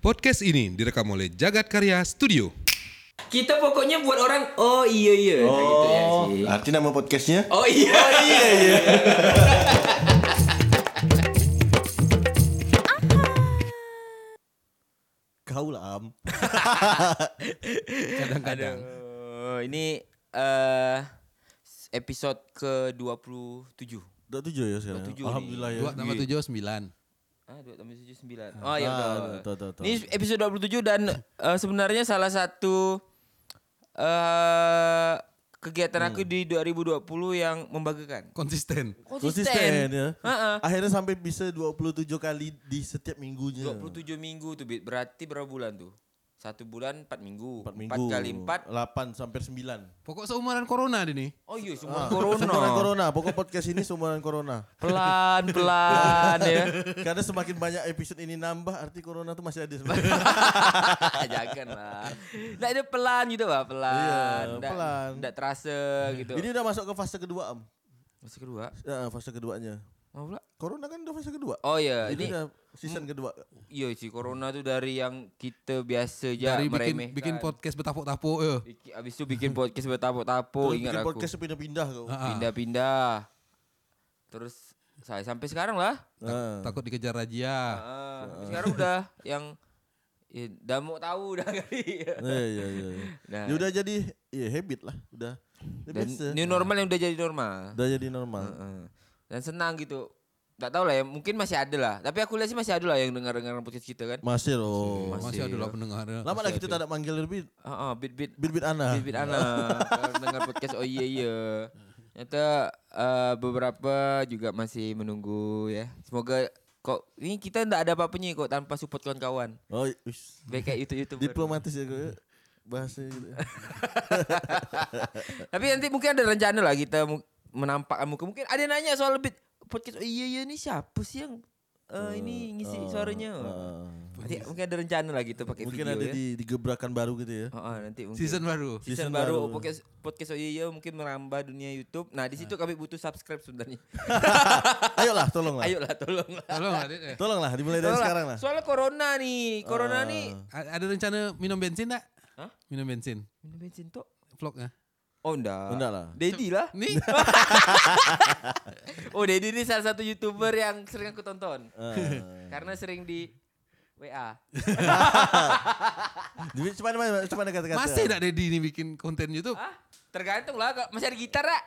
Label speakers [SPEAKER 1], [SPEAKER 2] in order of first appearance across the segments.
[SPEAKER 1] Podcast ini direkam oleh Jagat Karya Studio.
[SPEAKER 2] Kita pokoknya buat orang oh iya iya Nah, gitu ya
[SPEAKER 3] Oh,
[SPEAKER 2] sih.
[SPEAKER 3] arti nama podcastnya?
[SPEAKER 2] Oh iya iya iya.
[SPEAKER 3] Kau lah am.
[SPEAKER 1] Kadang-kadang.
[SPEAKER 2] Aduh, ini eh episode ke-27.
[SPEAKER 3] Udah tujuh ya sekarang.
[SPEAKER 2] 27 nih.
[SPEAKER 3] Alhamdulillah ya.
[SPEAKER 4] Dua, nama tujuh sembilan.
[SPEAKER 2] Ah, 29. Oh iya
[SPEAKER 3] Ah,
[SPEAKER 2] betul.
[SPEAKER 3] betul, betul, betul.
[SPEAKER 2] Ini episode 27 dan eh, sebenarnya salah satu eh kegiatan aku di 2020 yang membanggakan.
[SPEAKER 4] Konsisten.
[SPEAKER 3] Konsisten ya.
[SPEAKER 2] Heeh.
[SPEAKER 3] Akhirnya sampai bisa 27 kali di setiap minggunya.
[SPEAKER 2] 27 minggu tuh Bit. Berarti berapa bulan tuh? Satu bulan 4 minggu.
[SPEAKER 3] 4
[SPEAKER 2] 4
[SPEAKER 3] minggu.
[SPEAKER 2] kali 4.
[SPEAKER 3] 8 sampai 9.
[SPEAKER 4] Pokok seumuran corona ini.
[SPEAKER 2] Oh iya,
[SPEAKER 3] Ah.
[SPEAKER 2] semua
[SPEAKER 3] Seumuran
[SPEAKER 2] corona.
[SPEAKER 3] corona. Pokok podcast ini seumuran corona.
[SPEAKER 2] Pelan-pelan ya.
[SPEAKER 3] Karena semakin banyak episode ini nambah, arti corona tuh masih ada sebenarnya.
[SPEAKER 2] Jangan lah. Nak ada pelan gitu lah, pelan.
[SPEAKER 3] Iya,
[SPEAKER 2] Nggak-
[SPEAKER 3] pelan.
[SPEAKER 2] nggak terasa gitu.
[SPEAKER 3] ini udah masuk ke fase kedua, Am.
[SPEAKER 2] Masih kedua.
[SPEAKER 3] Ya, fase keduanya.
[SPEAKER 2] Mau pula?
[SPEAKER 3] Corona kan udah fase kedua.
[SPEAKER 2] Oh iya,
[SPEAKER 3] ini
[SPEAKER 2] ini
[SPEAKER 3] udah season kedua.
[SPEAKER 2] iya si corona tuh dari yang kita biasa je
[SPEAKER 4] Dari bikin
[SPEAKER 2] Ya, meremehkan.
[SPEAKER 4] bikin podcast bertapuk-tapuk. Eh.
[SPEAKER 2] Biki- Habis tu bikin podcast bertapuk-tapuk
[SPEAKER 3] Terus
[SPEAKER 2] Oh, ingat
[SPEAKER 3] bikin
[SPEAKER 2] aku.
[SPEAKER 3] podcast pindah-pindah kau.
[SPEAKER 4] Ah, ah.
[SPEAKER 2] Pindah-pindah. Terus saya sampai sekarang lah.
[SPEAKER 3] Ah.
[SPEAKER 4] Takut dikejar razia.
[SPEAKER 2] Ah, sampai sekarang udah yang ya, dah mau tahu dah kali.
[SPEAKER 3] Iya iya iya.
[SPEAKER 2] Nah.
[SPEAKER 3] Ya udah jadi ya habit lah, udah. Udah
[SPEAKER 2] Dan
[SPEAKER 3] biasa.
[SPEAKER 2] new normal yang udah jadi normal.
[SPEAKER 3] Udah jadi normal.
[SPEAKER 2] Heeh. Dan senang gitu. Tak tahu lah ya, mungkin masih ada lah. Tapi aku lihat sih masih ada lah yang dengar-dengar podcast kita kan.
[SPEAKER 3] Ah. Masih loh.
[SPEAKER 2] Masih.
[SPEAKER 4] Masih ada lah pendengar. eh.
[SPEAKER 3] Lama lah kita tak ada manggil lebih
[SPEAKER 2] Heeh, bit-bit
[SPEAKER 3] bit-bit ana.
[SPEAKER 2] bit-bit anak Kalau dengar podcast oh iya iya. Nyata eh, beberapa juga masih menunggu ya. Semoga kok ini kita ndak ada apa-apanya kok tanpa support kawan-kawan.
[SPEAKER 3] Oh, wis.
[SPEAKER 2] Baik kayak YouTube-YouTuber.
[SPEAKER 3] Diplomatis ya gue. Bahasa gitu.
[SPEAKER 2] Tapi nanti mungkin ada rencana lah kita mu- menampakkan muka. Mungkin ada yang nanya soal bit podcast. Oh iya iya ini siapa sih yang eh, ini ngisi suaranya? nanti mungkin ada rencana lah gitu pakai
[SPEAKER 3] Oh, eh, Mungkin
[SPEAKER 2] video
[SPEAKER 3] ada
[SPEAKER 2] ya.
[SPEAKER 3] di digebrakan baru gitu ya.
[SPEAKER 2] Oh, oh, nanti mungkin.
[SPEAKER 4] Season baru.
[SPEAKER 2] Season
[SPEAKER 3] Season
[SPEAKER 2] baru,
[SPEAKER 3] baru.
[SPEAKER 2] podcast podcast oh iya iya mungkin merambah dunia YouTube. Nah, di situ kami butuh subscribe sebenarnya.
[SPEAKER 3] Ayolah, tolonglah.
[SPEAKER 2] Ayolah tolonglah.
[SPEAKER 4] Tolong Adit, eh.
[SPEAKER 3] Tolonglah dimulai dari
[SPEAKER 2] Tolonglah.
[SPEAKER 3] sekarang lah. Ah.
[SPEAKER 2] Soalnya corona nih. Corona nih.
[SPEAKER 4] A- Ada rencana minum bensin tak?
[SPEAKER 2] Hah?
[SPEAKER 4] Minum bensin.
[SPEAKER 2] Minum bensin tuh.
[SPEAKER 4] Vlognya.
[SPEAKER 2] Oh enggak.
[SPEAKER 3] Enggak lah.
[SPEAKER 2] Dedi lah.
[SPEAKER 4] Nih.
[SPEAKER 2] Oh, Dedi ini salah satu YouTuber yang sering aku tonton.
[SPEAKER 3] Eh.
[SPEAKER 2] Karena sering di WA.
[SPEAKER 3] Jadi cuma cuma- cuma ada kata-kata.
[SPEAKER 4] Masih tak Dedi ini bikin konten YouTube?
[SPEAKER 2] Hah? Tergantung lah, kok masih ada gitar lah.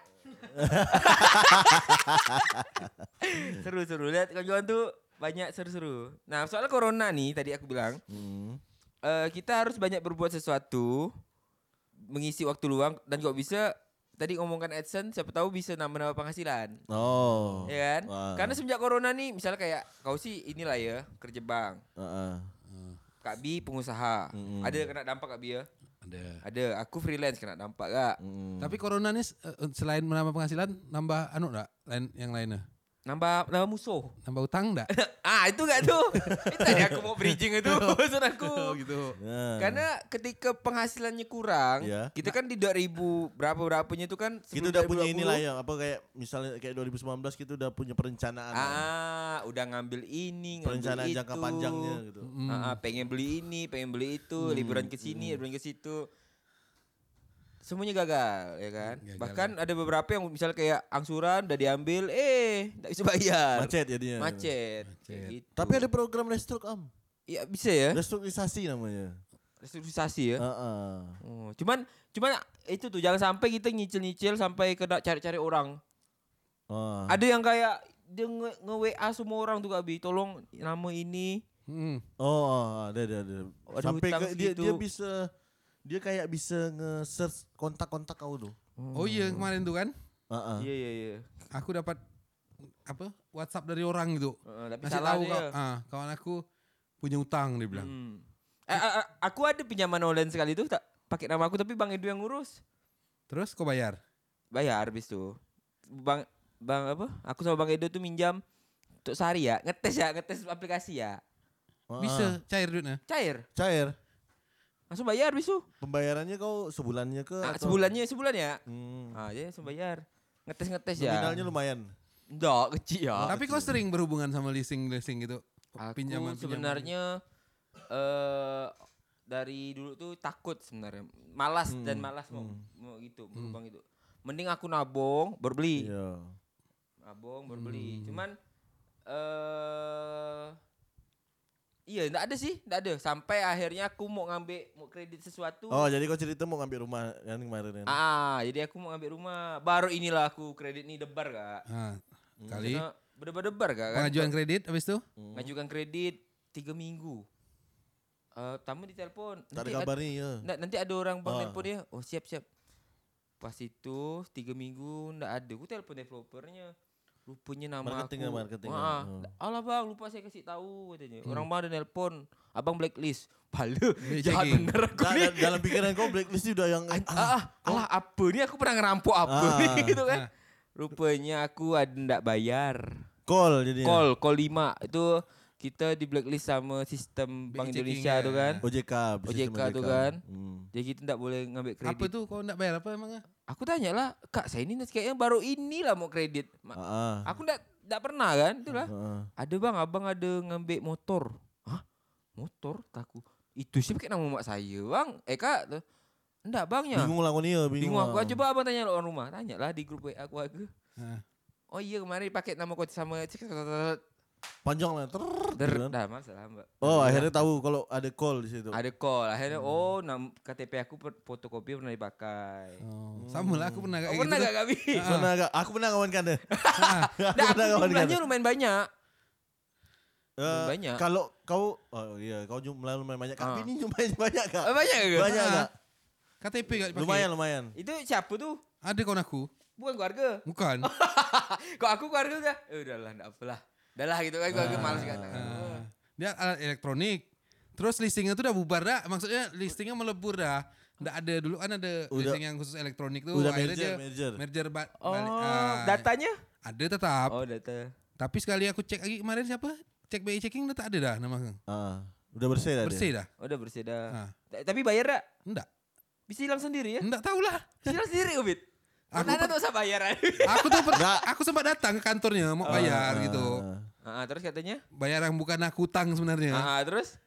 [SPEAKER 2] Seru-seru, lihat kawan-kawan tuh banyak seru-seru. Nah, soalnya corona nih, tadi aku bilang,
[SPEAKER 3] Hmm.
[SPEAKER 2] eh, kita harus banyak berbuat sesuatu, mengisi waktu luang, dan kok bisa, tadi ngomongkan AdSense, siapa tahu bisa nambah-nambah penghasilan.
[SPEAKER 3] Oh.
[SPEAKER 2] Ya kan?
[SPEAKER 3] Wah.
[SPEAKER 2] Karena semenjak corona nih, misalnya kayak kau sih inilah ya, kerja bank.
[SPEAKER 3] Heeh.
[SPEAKER 2] Kak Bi pengusaha. Ada kena dampak Kak Bi ya?
[SPEAKER 4] Ada.
[SPEAKER 2] Ada. Aku freelance kena dampak gak?
[SPEAKER 3] Hmm.
[SPEAKER 4] Tapi corona ini eh, eh, selain menambah penghasilan, nambah anu tak? Lain yang lainnya.
[SPEAKER 2] Nambah nambah musuh.
[SPEAKER 4] Nambah utang tak?
[SPEAKER 2] ah itu gak tuh? itu tadi aku mau bridging itu maksud aku.
[SPEAKER 3] Oh,
[SPEAKER 4] gitu.
[SPEAKER 3] Nah.
[SPEAKER 2] Karena ketika penghasilannya kurang,
[SPEAKER 3] Iya.
[SPEAKER 2] kita kan di 2000 berapa berapanya itu kan
[SPEAKER 3] Ya. kita
[SPEAKER 2] sebelum
[SPEAKER 3] udah punya
[SPEAKER 2] 2020,
[SPEAKER 3] inilah ya apa kayak misalnya kayak 2019 kita gitu udah punya perencanaan
[SPEAKER 2] Ah, gitu, udah ngambil ini, ngambil
[SPEAKER 3] perencanaan
[SPEAKER 2] itu.
[SPEAKER 3] jangka panjangnya gitu Hmm,
[SPEAKER 2] Ah, ah, pengen beli ini, pengen beli itu, liburan ke sini, liburan ke situ. Semuanya gagal, ya kan? Bahkan ada beberapa yang misalnya kayak angsuran udah diambil, eh, nggak bisa bayar.
[SPEAKER 3] macet jadinya
[SPEAKER 2] Macet. Kayak gitu.
[SPEAKER 3] tapi ada program restruk am
[SPEAKER 2] Iya, bisa ya.
[SPEAKER 3] restrukturisasi namanya Ah,
[SPEAKER 2] Restrukturisasi ya.
[SPEAKER 3] Heeh.
[SPEAKER 2] Oh, cuman cuman itu tuh jangan sampai kita nyicil-nyicil sampai kena cari-cari orang.
[SPEAKER 3] Ah.
[SPEAKER 2] Ada yang kayak dia nge- nge-WA semua orang tuh Abi, tolong nama ini.
[SPEAKER 4] Hmm.
[SPEAKER 3] oh ah, ada ada ada
[SPEAKER 2] Ada
[SPEAKER 3] sampai
[SPEAKER 2] hutang
[SPEAKER 3] ke, dia
[SPEAKER 2] segitu.
[SPEAKER 3] dia bisa dia kayak bisa nge-search kontak-kontak kau tuh Ah,
[SPEAKER 4] Oh iya kemarin tuh kan,
[SPEAKER 3] Heeh.
[SPEAKER 2] Iya iya iya.
[SPEAKER 4] aku dapat apa WhatsApp dari orang gitu.
[SPEAKER 2] Heeh, tapi
[SPEAKER 4] Ngasih
[SPEAKER 2] salah
[SPEAKER 4] tahu
[SPEAKER 2] dia.
[SPEAKER 4] kau, ah, kawan aku punya utang dia bilang.
[SPEAKER 2] Hmm. Eh, eh, eh, aku ada pinjaman online sekali tuh tak pakai nama aku tapi Bang Edu yang ngurus.
[SPEAKER 4] Terus kau bayar?
[SPEAKER 2] Bayar habis tuh. Bang Bang apa? Aku sama Bang Edu tuh minjam untuk sehari ya, ngetes ya, ngetes aplikasi ya.
[SPEAKER 3] Ah, ah.
[SPEAKER 4] Bisa cair duitnya.
[SPEAKER 2] Cair.
[SPEAKER 3] cair
[SPEAKER 2] Langsung bayar bisu.
[SPEAKER 3] pembayarannya kau sebulannya
[SPEAKER 4] Iya,
[SPEAKER 3] ke
[SPEAKER 2] Ah,
[SPEAKER 3] atau-
[SPEAKER 2] sebulannya sebulan ya.
[SPEAKER 3] Hmm.
[SPEAKER 2] Ah, jadi langsung bayar. Ngetes-ngetes ya.
[SPEAKER 3] nominalnya lumayan
[SPEAKER 2] Enggak, kecil ya.
[SPEAKER 4] Tapi kau sering berhubungan sama leasing leasing gitu.
[SPEAKER 2] Aku
[SPEAKER 4] Pinjaman-pinjaman
[SPEAKER 2] sebenarnya eh dari dulu tuh takut sebenarnya, malas
[SPEAKER 4] Hmm,
[SPEAKER 2] dan malas mau mau gitu, berubah gitu. Mending aku nabung, berbeli.
[SPEAKER 3] Iya.
[SPEAKER 2] Nabung,
[SPEAKER 4] Hmm.
[SPEAKER 2] berbeli. Cuman eh Iya, enggak ada sih, enggak ada. Sampai akhirnya aku mau ngambil mau kredit sesuatu.
[SPEAKER 3] Oh, jadi kau cerita mau ngambil rumah yang kemarin
[SPEAKER 4] iya.
[SPEAKER 3] kan?
[SPEAKER 2] Ah, jadi aku mau ngambil rumah. Baru inilah aku kredit nih debar, Kak.
[SPEAKER 4] Ah, kali
[SPEAKER 2] Karena Berdebar-debar, Kak. Hmm, kan?
[SPEAKER 4] pengajuan kredit habis itu
[SPEAKER 2] ngajukan kredit tiga minggu. Eh tamu ditelepon.
[SPEAKER 3] Tak ada
[SPEAKER 2] nanti kan. ad-
[SPEAKER 3] kabar nih, ya.
[SPEAKER 2] na- nanti ada orang bank
[SPEAKER 3] Ah.
[SPEAKER 2] telepon dia. Oh siap siap. Pas itu tiga minggu ndak ada. Ku telepon developernya. Rupanya nama
[SPEAKER 3] Marketing
[SPEAKER 2] aku.
[SPEAKER 3] lah, marketing lah. Hmm.
[SPEAKER 2] Wah,
[SPEAKER 3] Oh.
[SPEAKER 2] Alah bang lupa saya kasih tahu katanya. Orang bank ada nelpon. Abang blacklist. Palu. Jahat
[SPEAKER 4] checking.
[SPEAKER 2] bener aku
[SPEAKER 3] Da-
[SPEAKER 2] nih.
[SPEAKER 3] da- dalam pikiran kau blacklist udah yang
[SPEAKER 2] An- ah, alah apa nih aku pernah ngerampok apa
[SPEAKER 3] Ah.
[SPEAKER 2] nih gitu kan. Rupanya aku ada ndak bayar.
[SPEAKER 3] call jadi.
[SPEAKER 2] Call, call 5 itu kita di blacklist sama sistem Bank
[SPEAKER 4] Bank checking,
[SPEAKER 2] Indonesia tu
[SPEAKER 4] ya.
[SPEAKER 2] kan.
[SPEAKER 3] OJK, sistem
[SPEAKER 2] OJK tu kan.
[SPEAKER 3] Hmm.
[SPEAKER 2] Jadi kita tak boleh ngambil
[SPEAKER 4] apa
[SPEAKER 2] kredit.
[SPEAKER 4] itu kau enggak bayar apa ah? emangnya
[SPEAKER 2] Aku tanya lah, Kak saya ini kayaknya baru inilah mau kredit. Ma-
[SPEAKER 3] Heeh.
[SPEAKER 2] Aku ndak ndak pernah kan, itulah.
[SPEAKER 3] Heeh.
[SPEAKER 2] Ada bang, abang ada ngambil motor. Hah? Motor? Taku. Itu sih pakai nama mak saya bang. Eh kak, tu. ndak bangnya.
[SPEAKER 3] Bingung lah kau nih, ya, bingung.
[SPEAKER 2] Iya. Bingung aku.
[SPEAKER 3] lah.
[SPEAKER 2] Coba abang tanya orang rumah. Tanya lah di grup WA aku. aku.
[SPEAKER 4] Ah.
[SPEAKER 2] Oh iya kemarin pakai nama kau sama
[SPEAKER 3] Panjang lah. trrrr,
[SPEAKER 2] Der,
[SPEAKER 3] gitu kan.
[SPEAKER 2] dah masalah mbak.
[SPEAKER 3] Oh,
[SPEAKER 2] Alhamdulillah.
[SPEAKER 3] akhirnya tahu kalau ada call di
[SPEAKER 4] Gitu.
[SPEAKER 3] situ.
[SPEAKER 2] Ada call. Akhirnya
[SPEAKER 4] Hmm.
[SPEAKER 2] oh nam- KTP aku per- fotokopi pernah dipakai.
[SPEAKER 4] Oh, sama lah aku pernah kayak
[SPEAKER 2] Oh,
[SPEAKER 4] gitu.
[SPEAKER 2] pernah
[SPEAKER 4] tuh.
[SPEAKER 2] gak Gabi?
[SPEAKER 3] Sana agak, aku pernah kawankan deh.
[SPEAKER 2] Nah, aku jumlahnya lumayan banyak.
[SPEAKER 3] Eh,
[SPEAKER 2] banyak.
[SPEAKER 3] Kalau kau, oh iya, kau jumlah lumayan banyak.
[SPEAKER 2] Ah.
[SPEAKER 3] Kak ini jumlahnya banyak kak.
[SPEAKER 2] Eh, Banyak gak?
[SPEAKER 3] Banyak
[SPEAKER 4] Ah.
[SPEAKER 3] kak.
[SPEAKER 4] KTP gak dipakai.
[SPEAKER 3] Lumayan, lumayan.
[SPEAKER 2] Itu siapa tuh?
[SPEAKER 4] Ada kawan aku.
[SPEAKER 2] Bukan keluarga.
[SPEAKER 4] Bukan.
[SPEAKER 2] Kok aku keluarga udah? Eh, udahlah, enggak apalah. Udahlah gitu kan keluarga malas kan.
[SPEAKER 4] Ah, dia alat elektronik. Terus listingnya tuh udah bubar dah. Maksudnya listingnya melebur dah. Nggak ada dulu kan ada listing yang khusus elektronik tuh.
[SPEAKER 3] udah
[SPEAKER 4] Akhirnya
[SPEAKER 3] merger,
[SPEAKER 4] dia
[SPEAKER 3] merger.
[SPEAKER 4] merger ba-
[SPEAKER 2] Oh,
[SPEAKER 4] balik. Ah,
[SPEAKER 2] datanya?
[SPEAKER 4] Ada tetap.
[SPEAKER 2] Oh, data.
[SPEAKER 4] Tapi sekali aku cek lagi kemarin siapa? Cek BI checking udah tak ada dah nama.
[SPEAKER 3] Ah, udah bersih lah dia.
[SPEAKER 4] Bersih dah.
[SPEAKER 2] Oh, Udah bersih dah.
[SPEAKER 4] Ah.
[SPEAKER 2] Ta- Tapi bayar gak?
[SPEAKER 4] Enggak.
[SPEAKER 2] Bisa hilang sendiri ya?
[SPEAKER 4] Enggak tahulah.
[SPEAKER 2] Bisa hilang sendiri, Ubit.
[SPEAKER 4] Aku
[SPEAKER 2] Mana tuh usah bayar.
[SPEAKER 4] Aku tuh per-
[SPEAKER 3] Nggak.
[SPEAKER 4] aku sempat datang ke kantornya mau bayar gitu.
[SPEAKER 3] Ah.
[SPEAKER 2] Ah, ah, terus katanya?
[SPEAKER 4] Bayar yang bukan aku utang sebenarnya.
[SPEAKER 2] Ah, ah, terus?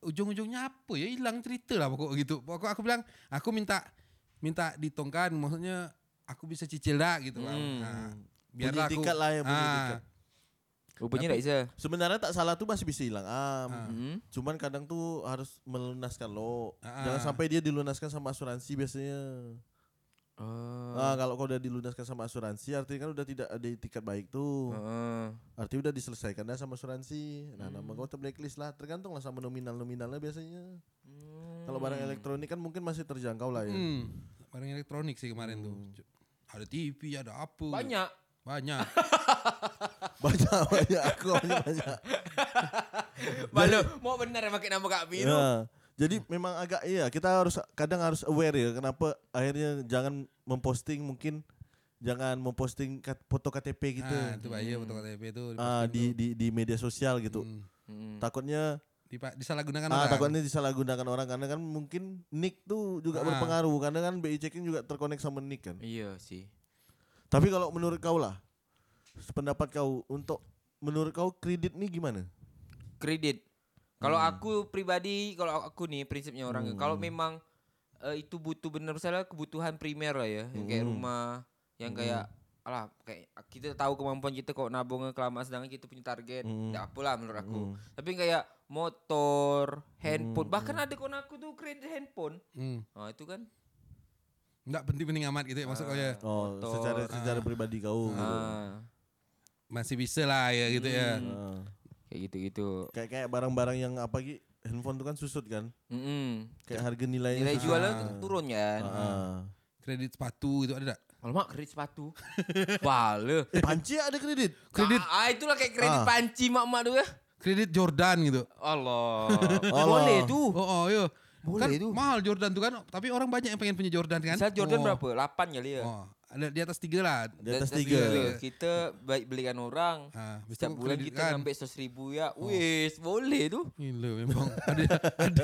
[SPEAKER 4] ujung-ujungnya apa ya hilang cerita lah pokok gitu pokok aku bilang aku minta minta ditongkan maksudnya aku bisa cicil dah gitu lah
[SPEAKER 2] Hmm.
[SPEAKER 4] nah,
[SPEAKER 3] Bunyi tiket lah ya, bunyi
[SPEAKER 4] Ah,
[SPEAKER 3] tiket.
[SPEAKER 2] Rupanya enggak bisa.
[SPEAKER 3] Sebenarnya tak salah tuh masih bisa hilang. Am.
[SPEAKER 4] Ah.
[SPEAKER 2] Hmm.
[SPEAKER 3] Cuman kadang tuh harus melunaskan lo.
[SPEAKER 4] Ah.
[SPEAKER 3] Jangan sampai dia dilunaskan sama asuransi biasanya.
[SPEAKER 2] Oh.
[SPEAKER 3] Ah, kalau kau udah dilunaskan sama asuransi artinya kan udah tidak ada tiket baik tuh.
[SPEAKER 4] Ah.
[SPEAKER 2] Heeh.
[SPEAKER 3] Artinya udah diselesaikan dah sama asuransi. Nah,
[SPEAKER 4] Hmm.
[SPEAKER 3] nama kau terblacklist lah. Tergantung lah sama nominal-nominalnya biasanya. Kalau barang elektronik kan mungkin masih terjangkau lah ya.
[SPEAKER 4] hmm, barang elektronik sih kemarin tuh
[SPEAKER 3] Hmm.
[SPEAKER 4] Cu- ada TV ada apa
[SPEAKER 2] Banyak.
[SPEAKER 4] banyak
[SPEAKER 3] Banyak banyak aku banyak banyak.
[SPEAKER 2] Balu, mau benar yang pakai nama Kak Biru.
[SPEAKER 3] Ya. Jadi memang agak iya kita harus kadang harus aware ya kenapa akhirnya jangan memposting mungkin jangan memposting kat- foto KTP gitu.
[SPEAKER 4] nah, itu bahaya foto KTP itu
[SPEAKER 3] Ah,
[SPEAKER 4] diposting
[SPEAKER 3] di,
[SPEAKER 4] tuh.
[SPEAKER 3] di di media sosial gitu.
[SPEAKER 4] Hmm, Kan
[SPEAKER 2] Hmm.
[SPEAKER 3] Takutnya
[SPEAKER 4] dipa- disalahgunakan
[SPEAKER 3] ah,
[SPEAKER 4] orang.
[SPEAKER 3] takutnya disalahgunakan orang karena kan mungkin nick tuh juga
[SPEAKER 4] Ah.
[SPEAKER 3] berpengaruh karena kan BI checking juga terkonek sama nick kan.
[SPEAKER 2] Iya sih.
[SPEAKER 3] Tapi kalau menurut kau lah pendapat kau untuk menurut kau kredit nih gimana?
[SPEAKER 2] Kredit. Kalau
[SPEAKER 3] Hmm.
[SPEAKER 2] aku pribadi, kalau aku nih prinsipnya orang, kalau memang eh, itu butuh benar misalnya kebutuhan primer lah ya, yang kayak
[SPEAKER 3] Hmm.
[SPEAKER 2] rumah, yang kayak alah kayak kita tahu kemampuan kita kok nabungnya kelamaan sedangkan kita punya target.
[SPEAKER 3] Hmm.
[SPEAKER 2] Enggak apalah menurut aku.
[SPEAKER 3] Hmm.
[SPEAKER 2] Tapi kayak motor, handphone, bahkan ada kawan aku tuh kredit handphone.
[SPEAKER 4] Hmm,
[SPEAKER 2] Nah, itu kan
[SPEAKER 4] nggak penting-penting amat gitu ya maksud kau ya
[SPEAKER 3] Oh,
[SPEAKER 2] Motor.
[SPEAKER 3] secara secara pribadi kau gitu.
[SPEAKER 2] ah,
[SPEAKER 4] masih bisa lah ya gitu ya
[SPEAKER 2] Hmm.
[SPEAKER 3] Ah.
[SPEAKER 2] kayak gitu-gitu.
[SPEAKER 3] kayak kayak barang-barang yang apa gitu handphone tuh kan susut kan
[SPEAKER 2] Mm-mm.
[SPEAKER 3] kayak harga nilainya
[SPEAKER 2] Nilai
[SPEAKER 3] susut.
[SPEAKER 2] jualnya tuh turun kan.
[SPEAKER 3] Ah.
[SPEAKER 4] kredit sepatu gitu ada tak?
[SPEAKER 2] Kalau mak kredit sepatu. Bale.
[SPEAKER 3] Eh, panci ada kredit
[SPEAKER 4] Kredit.
[SPEAKER 2] Ah, itulah kayak kredit
[SPEAKER 3] Ah.
[SPEAKER 2] panci mak-mak tuh ya.
[SPEAKER 4] kredit Jordan gitu
[SPEAKER 2] Allah.
[SPEAKER 3] Allah.
[SPEAKER 2] Boleh tuh.
[SPEAKER 4] Oh, oh iya.
[SPEAKER 2] Boleh
[SPEAKER 4] kan
[SPEAKER 2] itu.
[SPEAKER 4] mahal Jordan tuh kan, tapi orang banyak yang pengen punya Jordan kan.
[SPEAKER 2] Misal
[SPEAKER 4] Oh.
[SPEAKER 2] Jordan berapa? 8 kali ya.
[SPEAKER 4] Oh, ada di atas tiga lah.
[SPEAKER 3] di atas tiga
[SPEAKER 2] Kita baik belikan orang.
[SPEAKER 4] Ah, habis Oh.
[SPEAKER 2] Setiap
[SPEAKER 4] itu
[SPEAKER 2] bulan
[SPEAKER 4] kredit
[SPEAKER 2] kita
[SPEAKER 4] kan.
[SPEAKER 2] ngambil 100 ribu ya. Wis, boleh tuh.
[SPEAKER 4] Gila memang ada ada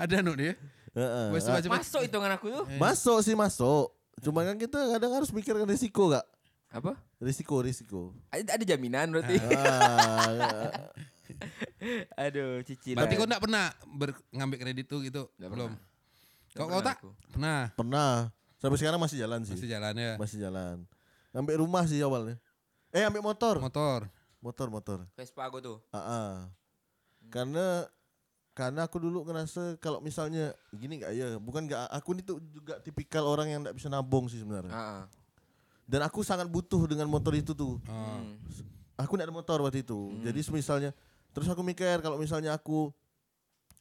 [SPEAKER 4] ada anu dia.
[SPEAKER 2] Eh,
[SPEAKER 3] Heeh.
[SPEAKER 4] Wes baca
[SPEAKER 2] Masuk hitungan aku tuh.
[SPEAKER 3] Ah, masuk sih masuk cuma kan kita kadang harus mikirkan risiko gak
[SPEAKER 2] Apa?
[SPEAKER 3] risiko risiko
[SPEAKER 2] Ada ada jaminan berarti.
[SPEAKER 3] Ah,
[SPEAKER 2] Aduh, cicilan.
[SPEAKER 4] Berarti kau enggak pernah ber- ngambil kredit tuh gitu?
[SPEAKER 2] Nggak
[SPEAKER 4] Belum.
[SPEAKER 2] Nggak
[SPEAKER 4] Kau kau
[SPEAKER 2] pernah Iya.
[SPEAKER 4] tak?
[SPEAKER 2] aku.
[SPEAKER 4] Pernah.
[SPEAKER 3] Pernah. Sampai sekarang masih jalan sih.
[SPEAKER 4] Masih jalan ya.
[SPEAKER 3] Masih jalan. Ambil rumah sih awalnya. Eh ambil motor.
[SPEAKER 4] Motor.
[SPEAKER 3] Motor motor.
[SPEAKER 2] Vespa aku tuh.
[SPEAKER 3] Ah, ah. Karena karena aku dulu ngerasa kalau misalnya gini gak ya, bukan gak aku ini tuh juga tipikal orang yang gak bisa nabung sih
[SPEAKER 4] Ah.
[SPEAKER 3] sebenarnya.
[SPEAKER 2] Heeh.
[SPEAKER 3] Dan aku sangat butuh dengan motor itu tuh.
[SPEAKER 4] Oh.
[SPEAKER 2] Hmm.
[SPEAKER 3] Aku gak ada motor waktu itu.
[SPEAKER 4] Hmm.
[SPEAKER 3] Jadi misalnya terus aku mikir kalau misalnya aku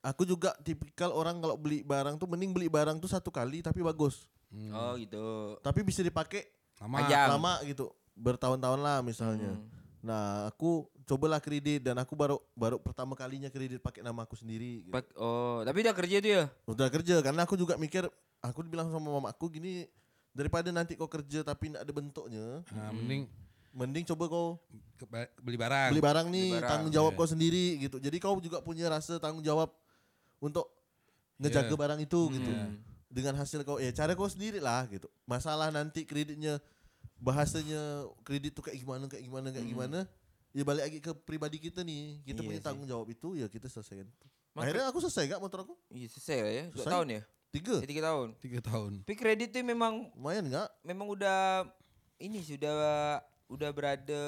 [SPEAKER 3] aku juga tipikal orang kalau beli barang tuh mending beli barang tuh satu kali tapi bagus.
[SPEAKER 2] Oh, gitu.
[SPEAKER 3] Tapi bisa dipakai
[SPEAKER 4] Lama.
[SPEAKER 2] Panjang. Am.
[SPEAKER 3] lama gitu, bertahun-tahun lah misalnya.
[SPEAKER 2] Hmm.
[SPEAKER 3] Nah, aku cobalah kredit dan aku baru baru pertama kalinya kredit pakai nama aku sendiri gitu.
[SPEAKER 2] Pak- Oh, tapi udah kerja tuh ya?
[SPEAKER 3] Udah kerja karena aku juga mikir aku bilang sama mamaku gini daripada nanti kau kerja tapi tidak ada bentuknya
[SPEAKER 4] Nah,
[SPEAKER 2] Hmm.
[SPEAKER 4] mending
[SPEAKER 3] mending coba kau
[SPEAKER 4] ke- ba- beli barang.
[SPEAKER 3] beli barang nih
[SPEAKER 2] barang.
[SPEAKER 3] tanggung jawab kau sendiri gitu jadi kau juga punya rasa tanggung jawab untuk ngejaga
[SPEAKER 4] Yeah.
[SPEAKER 3] barang itu gitu
[SPEAKER 2] Yeah.
[SPEAKER 3] dengan hasil kau ya cara kau sendiri lah gitu masalah nanti kreditnya bahasanya kredit tuh kayak gimana kayak gimana kayak gimana ya balik lagi ke pribadi kita nih kita
[SPEAKER 2] Iya
[SPEAKER 3] punya
[SPEAKER 2] sih.
[SPEAKER 3] tanggung jawab itu ya kita selesaikan
[SPEAKER 2] Maka-
[SPEAKER 3] akhirnya aku selesai gak motor aku
[SPEAKER 2] Iya, selesai lah ya. Dua
[SPEAKER 3] Selesai.
[SPEAKER 2] tahun ya?
[SPEAKER 3] tiga
[SPEAKER 2] Ya, tiga tahun.
[SPEAKER 4] Tiga tahun.
[SPEAKER 2] Tapi kredit tuh memang
[SPEAKER 3] lumayan gak
[SPEAKER 2] memang udah ini sudah udah berada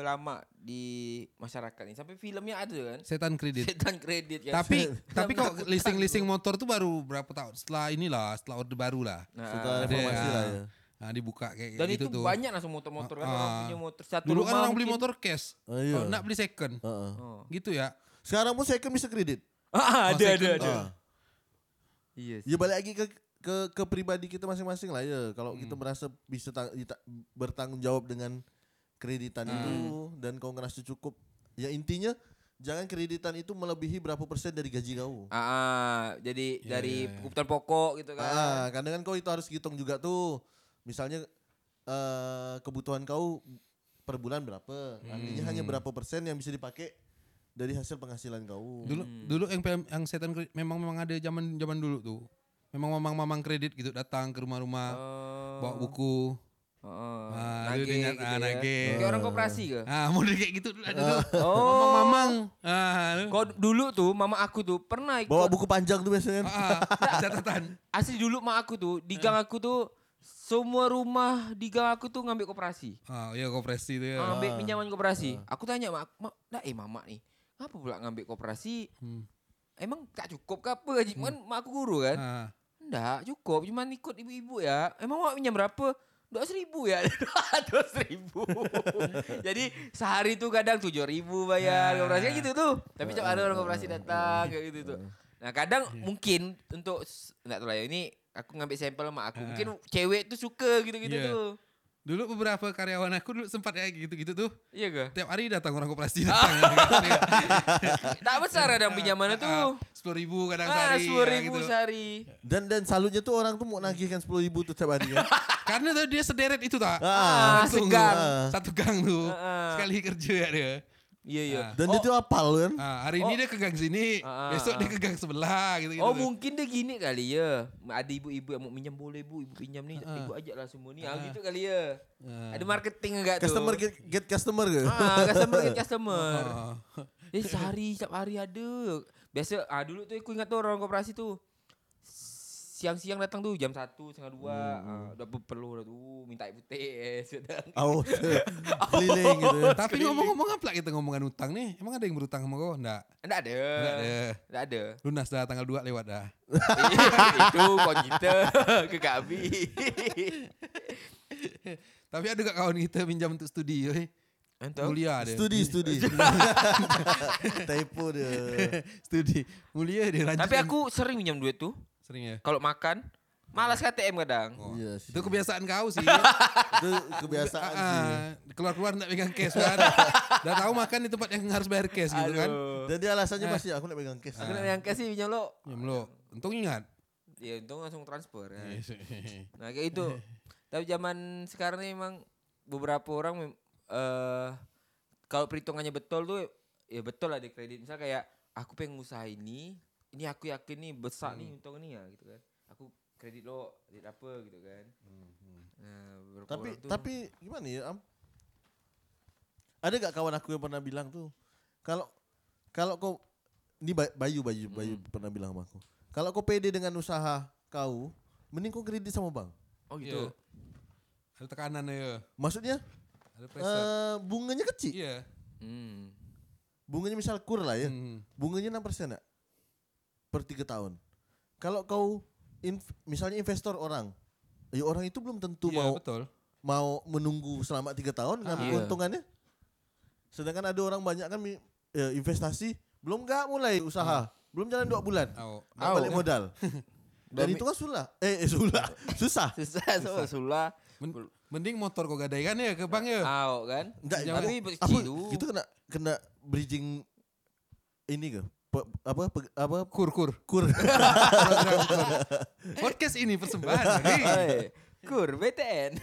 [SPEAKER 2] lama di masyarakat ini. Sampai filmnya ada kan?
[SPEAKER 4] Setan kredit.
[SPEAKER 2] Setan kredit kan.
[SPEAKER 4] Tapi
[SPEAKER 2] Setan
[SPEAKER 4] tapi kok
[SPEAKER 2] kredit.
[SPEAKER 4] leasing-leasing motor tuh baru berapa tahun setelah inilah, setelah orde baru lah.
[SPEAKER 2] Nah,
[SPEAKER 3] Sudah
[SPEAKER 4] Ada
[SPEAKER 3] reformasi
[SPEAKER 4] ya.
[SPEAKER 3] lah ya.
[SPEAKER 4] Nah, dibuka kayak
[SPEAKER 2] dan
[SPEAKER 4] gitu
[SPEAKER 2] itu
[SPEAKER 4] tuh.
[SPEAKER 2] banyak langsung motor-motor kan orang
[SPEAKER 4] Ah.
[SPEAKER 2] punya motor satu
[SPEAKER 4] Dulu kan
[SPEAKER 2] rumah
[SPEAKER 4] orang beli
[SPEAKER 2] mungkin.
[SPEAKER 4] motor cash.
[SPEAKER 3] Ah, iya.
[SPEAKER 4] Kalau nak beli second.
[SPEAKER 3] Heeh.
[SPEAKER 2] Oh.
[SPEAKER 4] Gitu ya.
[SPEAKER 3] Sekarang pun second bisa kredit.
[SPEAKER 4] Masa
[SPEAKER 2] Ah, ada ada
[SPEAKER 4] iklan
[SPEAKER 2] ada.
[SPEAKER 3] Ah.
[SPEAKER 2] Iya. sih.
[SPEAKER 3] Ya balik lagi ke ke ke pribadi kita masing-masing lah ya. Kalau
[SPEAKER 4] Hmm.
[SPEAKER 3] kita merasa bisa tang- dita- bertanggung jawab dengan kreditan
[SPEAKER 4] Hmm.
[SPEAKER 3] itu dan kau ngerasa cukup, ya intinya jangan kreditan itu melebihi berapa persen dari gaji kau.
[SPEAKER 2] Ah, ah, jadi
[SPEAKER 4] Iya,
[SPEAKER 2] dari kebutuhan pokok gitu kan.
[SPEAKER 3] Ah, karena kan kau itu harus hitung juga tuh. Misalnya eh, kebutuhan kau per bulan berapa? Artinya hanya
[SPEAKER 4] Hmm.
[SPEAKER 3] berapa persen yang bisa dipakai dari hasil penghasilan kau.
[SPEAKER 4] Dulu dulu yang PM yang setan kredit memang memang ada zaman zaman dulu tuh. Memang mamang-mamang kredit gitu datang ke rumah-rumah
[SPEAKER 2] Oh.
[SPEAKER 4] bawa buku.
[SPEAKER 2] Heeh.
[SPEAKER 4] Ah, dia
[SPEAKER 2] Nage
[SPEAKER 4] ingat,
[SPEAKER 2] gitu
[SPEAKER 4] ah,
[SPEAKER 2] ya.
[SPEAKER 4] nage.
[SPEAKER 2] Kayak orang koperasi ke?
[SPEAKER 4] Ah, model kayak gitu dulu ada tuh.
[SPEAKER 2] Oh.
[SPEAKER 4] Mamang-mamang. Ah, lu-
[SPEAKER 2] Kau dulu tuh mama aku tuh pernah ikut
[SPEAKER 3] Bawa buku panjang tuh biasanya. kan.
[SPEAKER 4] ah, ah, catatan.
[SPEAKER 2] asli dulu mak aku tuh di
[SPEAKER 4] Hmm.
[SPEAKER 2] gang aku tuh semua rumah di gang aku tuh ngambil koperasi.
[SPEAKER 4] Ah, iya koperasi itu ya.
[SPEAKER 2] Ngambil pinjaman koperasi. Aku tanya mak, mak nah, eh mama nih, ngapa pula ngambil koperasi?
[SPEAKER 4] Hmm.
[SPEAKER 2] Emang tak cukup ke apa gaji? Kan mak aku guru kan?
[SPEAKER 4] Ah.
[SPEAKER 2] Enggak, cukup. Cuman ikut ibu-ibu ya. Emang mak pinjam berapa? Dua ribu ya, dua ribu. Jadi sehari tuh kadang tujuh ribu bayar
[SPEAKER 4] Ah.
[SPEAKER 2] koperasi kan gitu tuh. Tapi cuma ada orang koperasi datang kayak gitu tuh. Nah kadang
[SPEAKER 4] Ya.
[SPEAKER 2] mungkin untuk s- enggak tahu lah ya ini aku ngambil sampel sama
[SPEAKER 4] Ah.
[SPEAKER 2] aku. Mungkin cewek tuh suka gitu-gitu
[SPEAKER 4] Iya.
[SPEAKER 2] tuh.
[SPEAKER 4] Dulu beberapa karyawan aku dulu sempat ya gitu-gitu tuh.
[SPEAKER 2] Iya ga?
[SPEAKER 4] Tiap hari datang Gitu, orang koperasi datang.
[SPEAKER 2] Tak besar ada pinjamannya tuh.
[SPEAKER 4] Ah, Sepuluh ribu kadang
[SPEAKER 2] Ah,
[SPEAKER 4] sehari.
[SPEAKER 2] sepuluh
[SPEAKER 4] ya,
[SPEAKER 2] ribu
[SPEAKER 4] gitu.
[SPEAKER 2] sehari.
[SPEAKER 3] Dan dan salutnya tuh orang tuh mau nagihkan sepuluh ribu tuh tiap hari ya.
[SPEAKER 4] Karena tuh dia sederet itu tak.
[SPEAKER 3] Ah,
[SPEAKER 4] Langsung tuh.
[SPEAKER 2] segang.
[SPEAKER 4] Satu gang tuh.
[SPEAKER 2] Ah.
[SPEAKER 4] Sekali kerja ya dia.
[SPEAKER 2] Iya iya.
[SPEAKER 4] Ah.
[SPEAKER 3] Dan dia tuh apal kan.
[SPEAKER 4] Ah, hari ini dia ke gang sini,
[SPEAKER 2] Ah, ah,
[SPEAKER 4] besok dia ke gang sebelah gitu gitu.
[SPEAKER 2] Oh mungkin dia gini kali ya. Ada ibu-ibu yang mau pinjam boleh bu, ibu pinjam nih, ibu ajaklah semua nih. Ah, gitu kali ya.
[SPEAKER 4] Ah,
[SPEAKER 2] Ada marketing enggak tuh?
[SPEAKER 3] Customer get, get customer gitu.
[SPEAKER 2] Ah, customer get customer.
[SPEAKER 4] Ah.
[SPEAKER 2] Eh sehari tiap hari ada. Biasa ah dulu tuh aku ingat tuh orang koperasi tuh siang-siang datang tuh jam satu setengah dua ah, udah perlu dah tuh minta air putih eh, sudah
[SPEAKER 3] Aus. Keliling gitu. ya.
[SPEAKER 4] Nah, Tapi ngomong-ngomong apa kita ngomongan utang nih? Emang ada yang berutang sama kau? Enggak.
[SPEAKER 2] enggak ada
[SPEAKER 4] Enggak ada.
[SPEAKER 2] enggak ada
[SPEAKER 4] Lunas dah tanggal 2 lewat dah.
[SPEAKER 2] itu kau kita ke kami
[SPEAKER 4] Tapi ada gak kawan kita pinjam untuk studi oi?
[SPEAKER 2] entah
[SPEAKER 4] Mulia dia.
[SPEAKER 3] Studi, studi. Typo dia.
[SPEAKER 4] studi. Mulia dia rajin.
[SPEAKER 2] tapi aku sering pinjam duit tuh
[SPEAKER 4] sering ya.
[SPEAKER 2] kalau makan malas KTM kadang
[SPEAKER 4] Oh.
[SPEAKER 3] Iya sih.
[SPEAKER 4] Itu kebiasaan kau sih.
[SPEAKER 3] Itu kebiasaan sih.
[SPEAKER 4] Ah, Keluar-keluar enggak pegang cash kan. Dah tahu makan di tempat yang harus bayar cash gitu kan.
[SPEAKER 2] aduh
[SPEAKER 3] Dan dia alasannya masih aku nak pegang Ah. cash.
[SPEAKER 2] aku nak yang kasih pinjam lo
[SPEAKER 4] Pinjam lo. Untung ingat.
[SPEAKER 2] ya untung langsung transfer ya. Nah kayak itu. Tapi zaman sekarang nih emang beberapa orang mem- eh kalau perhitungannya betul tuh ya betul lah di kredit. Misal kayak aku pengen usaha ini, ini aku yakin nih besar nih untung nih ya gitu kan. Aku kredit lo, kredit apa gitu kan. Nah, beberapa
[SPEAKER 3] Tapi
[SPEAKER 2] orang tuh,
[SPEAKER 3] tapi gimana ya, Am? Ada gak kawan aku yang pernah bilang tuh, kalau kalau kau ini Bay- Bayu Bayu Bayu pernah bilang sama aku. Kalau kau pede dengan usaha kau, mending kau kredit sama bank.
[SPEAKER 2] Oh
[SPEAKER 4] Iya.
[SPEAKER 2] gitu.
[SPEAKER 4] Ada tekanan ya.
[SPEAKER 3] Maksudnya
[SPEAKER 4] Ada pressure.
[SPEAKER 3] eh bunganya kecil.
[SPEAKER 4] Iya.
[SPEAKER 2] Hmm.
[SPEAKER 3] Bunganya misal kur lah ya.
[SPEAKER 4] Hmm.
[SPEAKER 3] Bunganya 6% persen ya, per 3 tahun. Kalau kau inv- misalnya investor orang, ya orang itu belum tentu
[SPEAKER 4] Iya,
[SPEAKER 3] mau
[SPEAKER 4] betul. Ah,
[SPEAKER 3] mau menunggu selama 3 tahun ngambil
[SPEAKER 2] Iya.
[SPEAKER 3] keuntungannya. Sedangkan ada orang banyak kan mi- eh, investasi belum gak mulai usaha, belum jalan 2 bulan.
[SPEAKER 4] Hmm. Ah. Au.
[SPEAKER 3] Nggak
[SPEAKER 2] Au.
[SPEAKER 3] balik modal. Dan
[SPEAKER 2] Demi-
[SPEAKER 3] itu kan sulah. Eh, eh sulah. Susah.
[SPEAKER 2] Susah, susah. susah.
[SPEAKER 4] Men- mending motor kau gadaikan ya ke bank ya.
[SPEAKER 2] Au kan?
[SPEAKER 3] Enggak,
[SPEAKER 4] Jangan-
[SPEAKER 2] Tapi
[SPEAKER 3] apa
[SPEAKER 2] kecil dulu.
[SPEAKER 3] itu kena kena bridging ini ke Pe- apa pe- apa
[SPEAKER 4] Kur kur.
[SPEAKER 3] kur
[SPEAKER 4] Podcast ini persembahan.
[SPEAKER 2] Iya.
[SPEAKER 4] iya. Ri.
[SPEAKER 2] Oi, Kur BTN.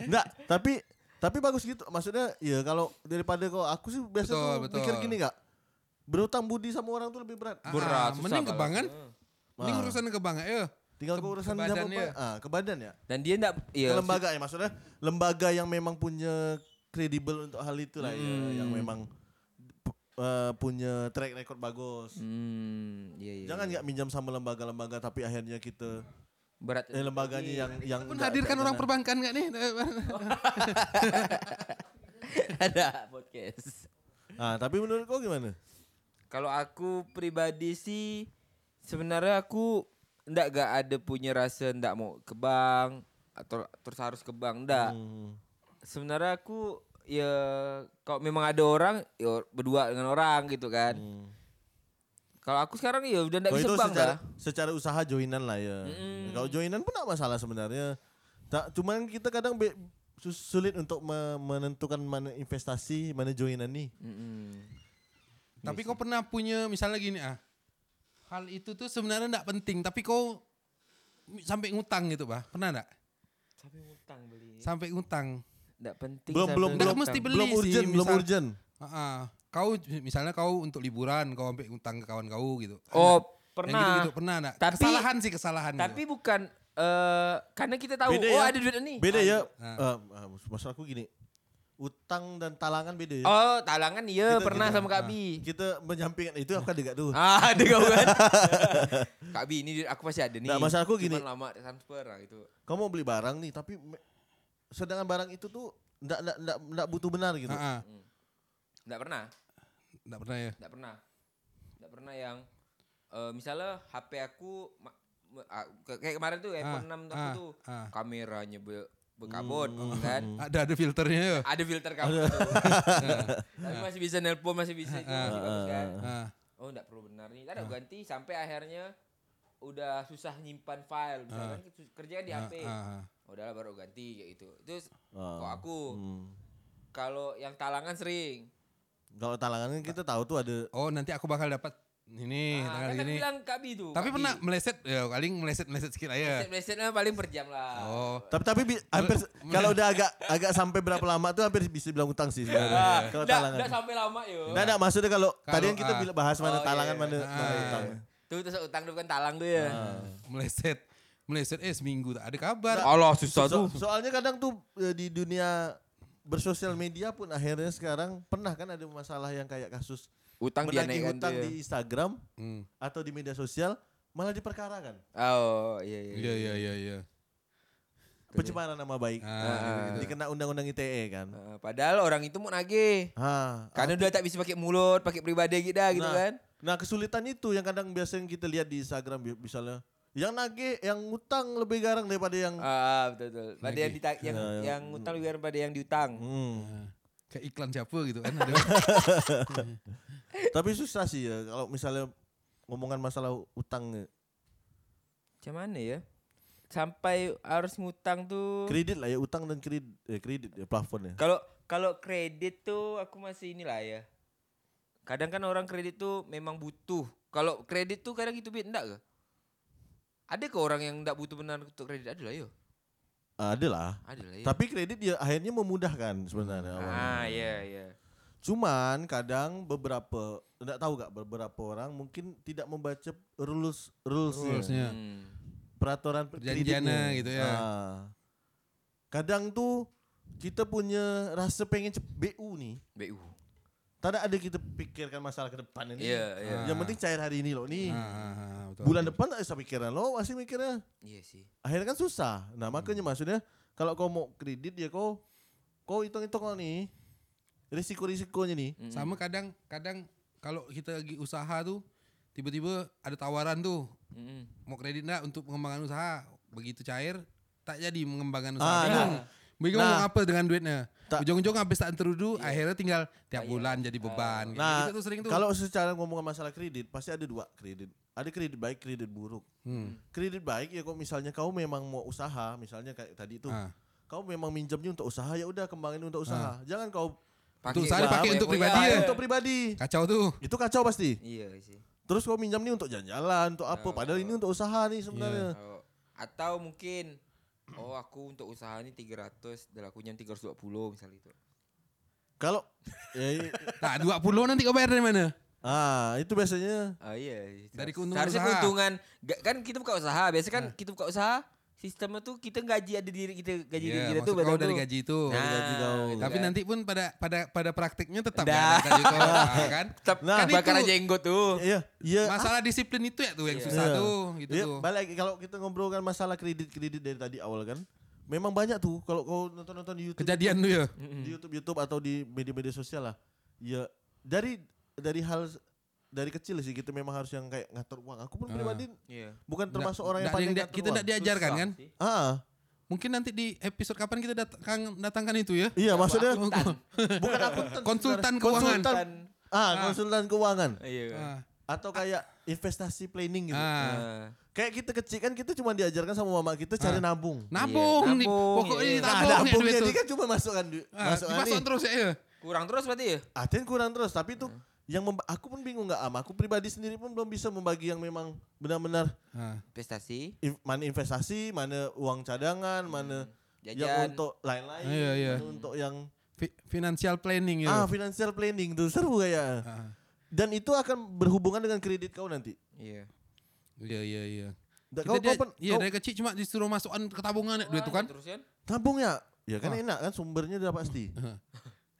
[SPEAKER 3] Enggak, tapi tapi bagus gitu. Maksudnya ya kalau daripada kau aku sih biasa
[SPEAKER 4] Betul,
[SPEAKER 3] tuh mikir
[SPEAKER 4] betul.
[SPEAKER 3] gini enggak? Berutang budi sama orang tuh lebih berat.
[SPEAKER 4] Ah,
[SPEAKER 2] Berat, susah
[SPEAKER 4] mending ke
[SPEAKER 2] kalau- gitu.
[SPEAKER 4] bank kan? Mending
[SPEAKER 3] Ah.
[SPEAKER 4] urusan ke bank ya.
[SPEAKER 3] Tinggal
[SPEAKER 4] Ke-
[SPEAKER 3] kau urusan
[SPEAKER 4] ke
[SPEAKER 3] sama
[SPEAKER 4] badan
[SPEAKER 3] apa?
[SPEAKER 4] dia.
[SPEAKER 3] Ah, ke badan ya.
[SPEAKER 2] Dan dia enggak iya.
[SPEAKER 3] Ke lembaga ya maksudnya lembaga yang memang punya kredibel untuk hal itu lah ya,
[SPEAKER 4] Hmm.
[SPEAKER 3] yang memang pu- eh, punya track record bagus.
[SPEAKER 2] Hmm, iya iya.
[SPEAKER 3] Jangan
[SPEAKER 2] iya.
[SPEAKER 3] nggak minjam sama lembaga-lembaga tapi akhirnya kita
[SPEAKER 2] berat.
[SPEAKER 3] eh lembaganya yang yang
[SPEAKER 4] Pun
[SPEAKER 3] nggak-
[SPEAKER 4] hadirkan
[SPEAKER 3] nggak
[SPEAKER 4] orang
[SPEAKER 3] kena.
[SPEAKER 4] perbankan nggak nih?
[SPEAKER 2] ada podcast.
[SPEAKER 3] Ah, tapi menurut kau gimana?
[SPEAKER 2] Kalau aku pribadi sih sebenarnya aku ndak gak ada punya rasa ndak mau ke bank atau terus harus ke bank ndak.
[SPEAKER 3] Hmm.
[SPEAKER 2] Sebenarnya aku ya kalau memang ada orang ya berdua dengan orang gitu kan. Kalau aku sekarang ya udah ndak
[SPEAKER 3] Hmm.
[SPEAKER 2] bisa
[SPEAKER 3] Kalau itu
[SPEAKER 2] bank
[SPEAKER 3] secara,
[SPEAKER 2] dah.
[SPEAKER 3] secara usaha joinan lah ya. Kalau joinan pun tak masalah sebenarnya. Tak cuman kita kadang be- sus- sulit untuk me- menentukan mana investasi, mana joinan nih.
[SPEAKER 2] Mm-mm.
[SPEAKER 4] Tapi kau pernah punya misalnya gini ah. Hal itu tuh sebenarnya enggak penting tapi kau mi- sampai ngutang gitu, Bah. Pernah enggak?
[SPEAKER 2] Tapi utang beli.
[SPEAKER 4] Sampai ngutang.
[SPEAKER 2] Ndak penting.
[SPEAKER 3] Belum
[SPEAKER 2] sampai
[SPEAKER 3] belum
[SPEAKER 4] Nggak
[SPEAKER 3] belum
[SPEAKER 2] utang.
[SPEAKER 4] mesti beli
[SPEAKER 3] belum
[SPEAKER 4] sih,
[SPEAKER 3] urgent, belum
[SPEAKER 4] misal.
[SPEAKER 3] urgent.
[SPEAKER 4] Heeh. Kau misalnya kau untuk liburan kau sampai ngutang ke kawan kau gitu.
[SPEAKER 2] Oh,
[SPEAKER 4] Yang
[SPEAKER 2] pernah.
[SPEAKER 4] gitu-gitu, pernah enggak?
[SPEAKER 2] Tapi-
[SPEAKER 4] kesalahan sih kesalahan. gitu.
[SPEAKER 2] Tapi bukan eh karena kita tahu
[SPEAKER 3] Beda
[SPEAKER 2] oh
[SPEAKER 3] ya.
[SPEAKER 2] ada duit nih.
[SPEAKER 3] Beda
[SPEAKER 2] Ah,
[SPEAKER 3] ya.
[SPEAKER 2] gitu.
[SPEAKER 4] Ah.
[SPEAKER 3] Eh, ah, maksud aku gini. Utang dan talangan beda ya.
[SPEAKER 2] Oh, talangan
[SPEAKER 4] Gitu,
[SPEAKER 2] iya
[SPEAKER 3] Kita-
[SPEAKER 2] pernah
[SPEAKER 3] kita-
[SPEAKER 2] sama
[SPEAKER 4] Nah,
[SPEAKER 2] Kak Bi.
[SPEAKER 3] Kita menyampingkan itu aku ada gak tuh.
[SPEAKER 2] Ah, ada kau kan. Kak Bi, ini duit aku masih ada nih.
[SPEAKER 4] Nah,
[SPEAKER 3] Nggak, masalah aku gini.
[SPEAKER 2] Cuman lama transfer lah gitu.
[SPEAKER 3] Kamu mau beli barang nih tapi me- sedangkan barang itu tuh ndak ndak ndak ndak butuh benar gitu.
[SPEAKER 4] Heeh.
[SPEAKER 2] Enggak pernah.
[SPEAKER 4] Enggak pernah ya.
[SPEAKER 2] Enggak pernah. Enggak pernah yang eh, misalnya HP aku ma- ma- ah, ke- kayak kemarin tuh iPhone 6 aku
[SPEAKER 4] ah,
[SPEAKER 2] tuh
[SPEAKER 4] ah. Hmm.
[SPEAKER 2] kameranya be- berkabut kan.
[SPEAKER 4] Ada ada filternya ya.
[SPEAKER 2] Ada filter kamu. tuh. Nah, Tapi masih bisa nelpon, masih bisa itu masih bagus kan.
[SPEAKER 4] Ah.
[SPEAKER 2] oh enggak perlu benar nih. Tadi aku ganti sampai akhirnya udah susah nyimpan file misalkan kerja kerjaan di HP.
[SPEAKER 4] ah.
[SPEAKER 2] Oh, udahlah baru ganti kayak gitu. Terus
[SPEAKER 3] Ah.
[SPEAKER 2] kok aku
[SPEAKER 3] Hmm.
[SPEAKER 2] kalau yang talangan sering.
[SPEAKER 3] Kalau talangan kan kita tahu tuh ada
[SPEAKER 4] Oh, nanti aku bakal dapat ini
[SPEAKER 2] Ah,
[SPEAKER 4] tanggal
[SPEAKER 2] kan tadi
[SPEAKER 4] ini.
[SPEAKER 2] bilang Kak Bi tuh.
[SPEAKER 4] Tapi
[SPEAKER 2] Kak
[SPEAKER 4] pernah
[SPEAKER 2] Bi.
[SPEAKER 4] meleset ya paling meleset-meleset sikit aja.
[SPEAKER 2] Meleset-melesetnya paling per jam lah.
[SPEAKER 4] Oh.
[SPEAKER 3] Tapi tapi bi- hampir kalau udah agak agak sampai berapa lama tuh hampir bisa bilang utang sih
[SPEAKER 2] Ah,
[SPEAKER 3] sebenarnya. Kalau
[SPEAKER 2] enggak,
[SPEAKER 3] talangan.
[SPEAKER 2] enggak sampai lama yo.
[SPEAKER 3] Enggak ada maksudnya kalau
[SPEAKER 4] Kalau,
[SPEAKER 3] tadi kan kita
[SPEAKER 4] ah.
[SPEAKER 3] bila- bahas mana
[SPEAKER 2] Oh,
[SPEAKER 3] talangan
[SPEAKER 2] iya,
[SPEAKER 3] mana
[SPEAKER 2] iya.
[SPEAKER 3] mana utang.
[SPEAKER 2] Tuh terus utang tuh kan talang tuh ya.
[SPEAKER 4] meleset meleset eh seminggu tak ada kabar
[SPEAKER 2] Allah susah
[SPEAKER 3] So- soalnya kadang tuh eh, di dunia bersosial media pun akhirnya sekarang pernah kan ada masalah yang kayak kasus
[SPEAKER 2] Utang dia
[SPEAKER 3] menagih
[SPEAKER 2] naikkan
[SPEAKER 3] hutang
[SPEAKER 2] tuh. ya.
[SPEAKER 3] di Instagram
[SPEAKER 4] Hmm.
[SPEAKER 3] atau di media sosial malah diperkarakan
[SPEAKER 2] Oh, iya iya.
[SPEAKER 4] iya iya iya iya
[SPEAKER 3] pencemaran nama baik. Nah,
[SPEAKER 4] Ah, gitu.
[SPEAKER 3] Dikena undang-undang ITE kan.
[SPEAKER 2] Ah, padahal orang itu mau nagih.
[SPEAKER 3] Ah,
[SPEAKER 2] Karena udah tak bisa pakai mulut, pakai pribadi gitu dah gitu
[SPEAKER 3] nah,
[SPEAKER 2] kan.
[SPEAKER 3] Nah kesulitan itu yang kadang biasanya kita lihat di Instagram bi- misalnya yang nage, yang ngutang lebih garang daripada yang
[SPEAKER 2] Ah, ah, betul betul. Pada yang dita- yang
[SPEAKER 4] Ah,
[SPEAKER 3] Ya, ya.
[SPEAKER 2] yang utang lebih daripada yang diutang.
[SPEAKER 3] Hmm.
[SPEAKER 4] Nah, kayak iklan siapa gitu kan ada
[SPEAKER 3] Tapi susah sih ya kalau misalnya ngomongan masalah utang eh,
[SPEAKER 2] Macam mana ya? Sampai harus ngutang tuh.
[SPEAKER 3] kredit lah ya utang dan kredit eh, kredit ya plafon ya.
[SPEAKER 2] Kalau kalau kredit tuh aku masih inilah ya. Kadang kan orang kredit tuh memang butuh. Kalau kredit tuh kadang gitu bit enggak ke? Ada ke orang yang enggak butuh benar untuk kredit? Ada lah yo.
[SPEAKER 3] Ah, Ada lah.
[SPEAKER 2] Ada lah yo.
[SPEAKER 3] Tapi kredit ya akhirnya memudahkan sebenarnya. awalnya.
[SPEAKER 2] Iya. ah, iya iya.
[SPEAKER 3] Cuman kadang beberapa enggak tahu gak beberapa orang mungkin tidak membaca rules rulesnya
[SPEAKER 4] Rules-nya. Ya.
[SPEAKER 2] Hmm.
[SPEAKER 3] peraturan
[SPEAKER 4] Perjanjiannya
[SPEAKER 3] kreditnya.
[SPEAKER 4] gitu ya.
[SPEAKER 3] Ah. kadang tuh kita punya rasa pengen cep- BU nih
[SPEAKER 2] BU.
[SPEAKER 3] Tidak ada kita pikirkan masalah ke depan ini.
[SPEAKER 2] Iya, iya.
[SPEAKER 3] Yang penting cair hari ini loh nih.
[SPEAKER 4] Ah, betul.
[SPEAKER 3] Hmm. Bulan depan tak usah pikiran lo masih mikirnya.
[SPEAKER 2] Iya sih.
[SPEAKER 3] Akhirnya kan susah. Nah makanya
[SPEAKER 4] Hmm.
[SPEAKER 3] maksudnya kalau kau mau kredit ya kau kau hitung-hitung lo nih risiko-risikonya nih.
[SPEAKER 2] Mm.
[SPEAKER 4] Sama kadang kadang kalau kita lagi usaha tuh tiba-tiba ada tawaran tuh
[SPEAKER 2] Mm-mm.
[SPEAKER 4] mau kredit enggak untuk pengembangan usaha. Begitu cair tak jadi mengembangkan
[SPEAKER 3] Ah,
[SPEAKER 4] usaha. Bingung. Bingung
[SPEAKER 3] Nah.
[SPEAKER 4] mau apa dengan duitnya.
[SPEAKER 3] Tak-
[SPEAKER 4] Ujung-ujung habis tak terudu akhirnya tinggal tiap bulan jadi beban. Kayak
[SPEAKER 3] Nah,
[SPEAKER 4] gitu tuh sering tuh.
[SPEAKER 3] Kalau secara ngomongin masalah kredit, pasti ada dua kredit. Ada kredit baik, kredit buruk.
[SPEAKER 4] Hmm.
[SPEAKER 3] Kredit baik ya kok misalnya kau memang mau usaha, misalnya kayak tadi tuh,
[SPEAKER 4] Ah.
[SPEAKER 3] kau memang minjamnya untuk usaha ya udah kembangin untuk usaha. Jangan kau
[SPEAKER 4] Untuk Hmm. saya
[SPEAKER 2] buat
[SPEAKER 4] pakai
[SPEAKER 2] apa
[SPEAKER 4] untuk
[SPEAKER 2] ya,
[SPEAKER 4] pribadi
[SPEAKER 2] Pak?
[SPEAKER 4] ya.
[SPEAKER 3] untuk pribadi.
[SPEAKER 4] Kacau tuh.
[SPEAKER 3] Itu kacau pasti.
[SPEAKER 2] Iya sih.
[SPEAKER 3] Terus kau minjam nih untuk jalan-jalan, untuk
[SPEAKER 4] Ah.
[SPEAKER 3] apa? Padahal ini untuk usaha nih sebenarnya.
[SPEAKER 4] Iya.
[SPEAKER 2] Oh, Atau mungkin oh aku untuk usaha ini 300 dan aku nyam 320 misalnya itu.
[SPEAKER 3] Kalau ya, i-
[SPEAKER 4] Nah, 20 nanti kau bayar dari mana?
[SPEAKER 3] ah itu biasanya
[SPEAKER 2] Ah iya. itu.
[SPEAKER 4] Dari keuntungan
[SPEAKER 2] Seharusnya
[SPEAKER 4] usaha. Nah.
[SPEAKER 2] keuntungan Ga- kan kita buka usaha. Biasanya kan kita buka usaha sistemnya tuh kita gaji ada diri kita gaji diri
[SPEAKER 4] Iya, Ya,
[SPEAKER 2] kita tuh
[SPEAKER 4] maksud kau
[SPEAKER 2] betul
[SPEAKER 4] dari
[SPEAKER 2] tuh.
[SPEAKER 4] gaji itu.
[SPEAKER 2] Nah,
[SPEAKER 3] gaji kau.
[SPEAKER 2] gitu
[SPEAKER 4] Tapi
[SPEAKER 2] kan.
[SPEAKER 4] nanti pun pada pada pada praktiknya tetap
[SPEAKER 2] Dah.
[SPEAKER 4] kan, gaji kau, ah, kan?
[SPEAKER 2] tetap
[SPEAKER 3] Nah,
[SPEAKER 2] kan
[SPEAKER 4] itu-
[SPEAKER 2] bakaran jenggot tuh.
[SPEAKER 3] iya iya
[SPEAKER 4] Masalah disiplin itu ya tuh yang
[SPEAKER 2] Iya.
[SPEAKER 4] susah
[SPEAKER 3] Iya.
[SPEAKER 4] tuh gitu
[SPEAKER 3] Iya,
[SPEAKER 4] tuh.
[SPEAKER 3] balik lagi kalau kita ngobrolkan masalah kredit-kredit dari tadi awal kan. Memang banyak tuh kalau kau nonton-nonton di YouTube
[SPEAKER 4] Kejadian tuh ya.
[SPEAKER 2] Mm-mm.
[SPEAKER 3] di YouTube YouTube atau di media-media sosial lah. Ya dari dari hal dari kecil sih kita memang harus yang kayak ngatur uang. Aku pun
[SPEAKER 4] Ah.
[SPEAKER 3] pribadi
[SPEAKER 2] Iya.
[SPEAKER 3] bukan termasuk orang yang
[SPEAKER 4] Nggak ada
[SPEAKER 3] pandai
[SPEAKER 4] dia-
[SPEAKER 3] ngatur
[SPEAKER 4] kita
[SPEAKER 3] uang.
[SPEAKER 4] tidak diajarkan
[SPEAKER 2] Susah
[SPEAKER 4] kan?
[SPEAKER 2] sih.
[SPEAKER 3] Ah,
[SPEAKER 4] Mungkin nanti di episode kapan kita datang datangkan itu ya.
[SPEAKER 3] iya maksudnya
[SPEAKER 2] Tan.
[SPEAKER 3] bukan aku
[SPEAKER 4] Konsultan keuangan.
[SPEAKER 3] Konsultan, Gitu. ah, konsultan keuangan
[SPEAKER 2] Iya. kan?
[SPEAKER 4] Ah,
[SPEAKER 3] atau kayak investasi planning gitu.
[SPEAKER 4] ah.
[SPEAKER 2] Ah.
[SPEAKER 3] Kayak kita kecil kan kita cuma diajarkan sama mama kita
[SPEAKER 4] Ah.
[SPEAKER 3] cara nabung.
[SPEAKER 4] Nabung
[SPEAKER 2] Iya,
[SPEAKER 4] nih.
[SPEAKER 2] nabung,
[SPEAKER 4] Pokoknya
[SPEAKER 2] iya.
[SPEAKER 3] Nah,
[SPEAKER 4] ditabung ya duit
[SPEAKER 3] nabungnya
[SPEAKER 4] tuh.
[SPEAKER 3] dia kan cuma masukkan duit.
[SPEAKER 4] Ah,
[SPEAKER 3] masukkan
[SPEAKER 4] dipasang
[SPEAKER 3] nih.
[SPEAKER 4] terus ya. ya.
[SPEAKER 2] Kurang terus berarti ya?
[SPEAKER 3] Aten kurang terus tapi
[SPEAKER 4] Hmm.
[SPEAKER 3] tuh yang memba- aku pun bingung nggak am. Aku pribadi sendiri pun belum bisa membagi yang memang benar-benar
[SPEAKER 4] Ah.
[SPEAKER 2] Prestasi,
[SPEAKER 3] in- mana investasi, mana uang cadangan, mana yang
[SPEAKER 2] Hmm. jajan.
[SPEAKER 3] untuk lain-lain,
[SPEAKER 4] Hmm. Iya, iya.
[SPEAKER 3] mana untuk yang
[SPEAKER 4] Fi- financial planning ya.
[SPEAKER 3] ah financial planning tuh seru kayak.
[SPEAKER 4] Ah.
[SPEAKER 3] Dan itu akan berhubungan dengan kredit kau nanti.
[SPEAKER 2] Iya.
[SPEAKER 4] Iya iya iya.
[SPEAKER 3] Da-
[SPEAKER 4] Kita
[SPEAKER 3] Kau,
[SPEAKER 4] dia,
[SPEAKER 3] kau pun
[SPEAKER 4] iya
[SPEAKER 3] kau Ah, gitu.
[SPEAKER 4] dari kecil cuma disuruh masukkan ke tabungan ya, duit tuh kan.
[SPEAKER 2] Terus kan?
[SPEAKER 3] nabung ya? Ya kan
[SPEAKER 4] Ah.
[SPEAKER 3] enak kan sumbernya udah pasti.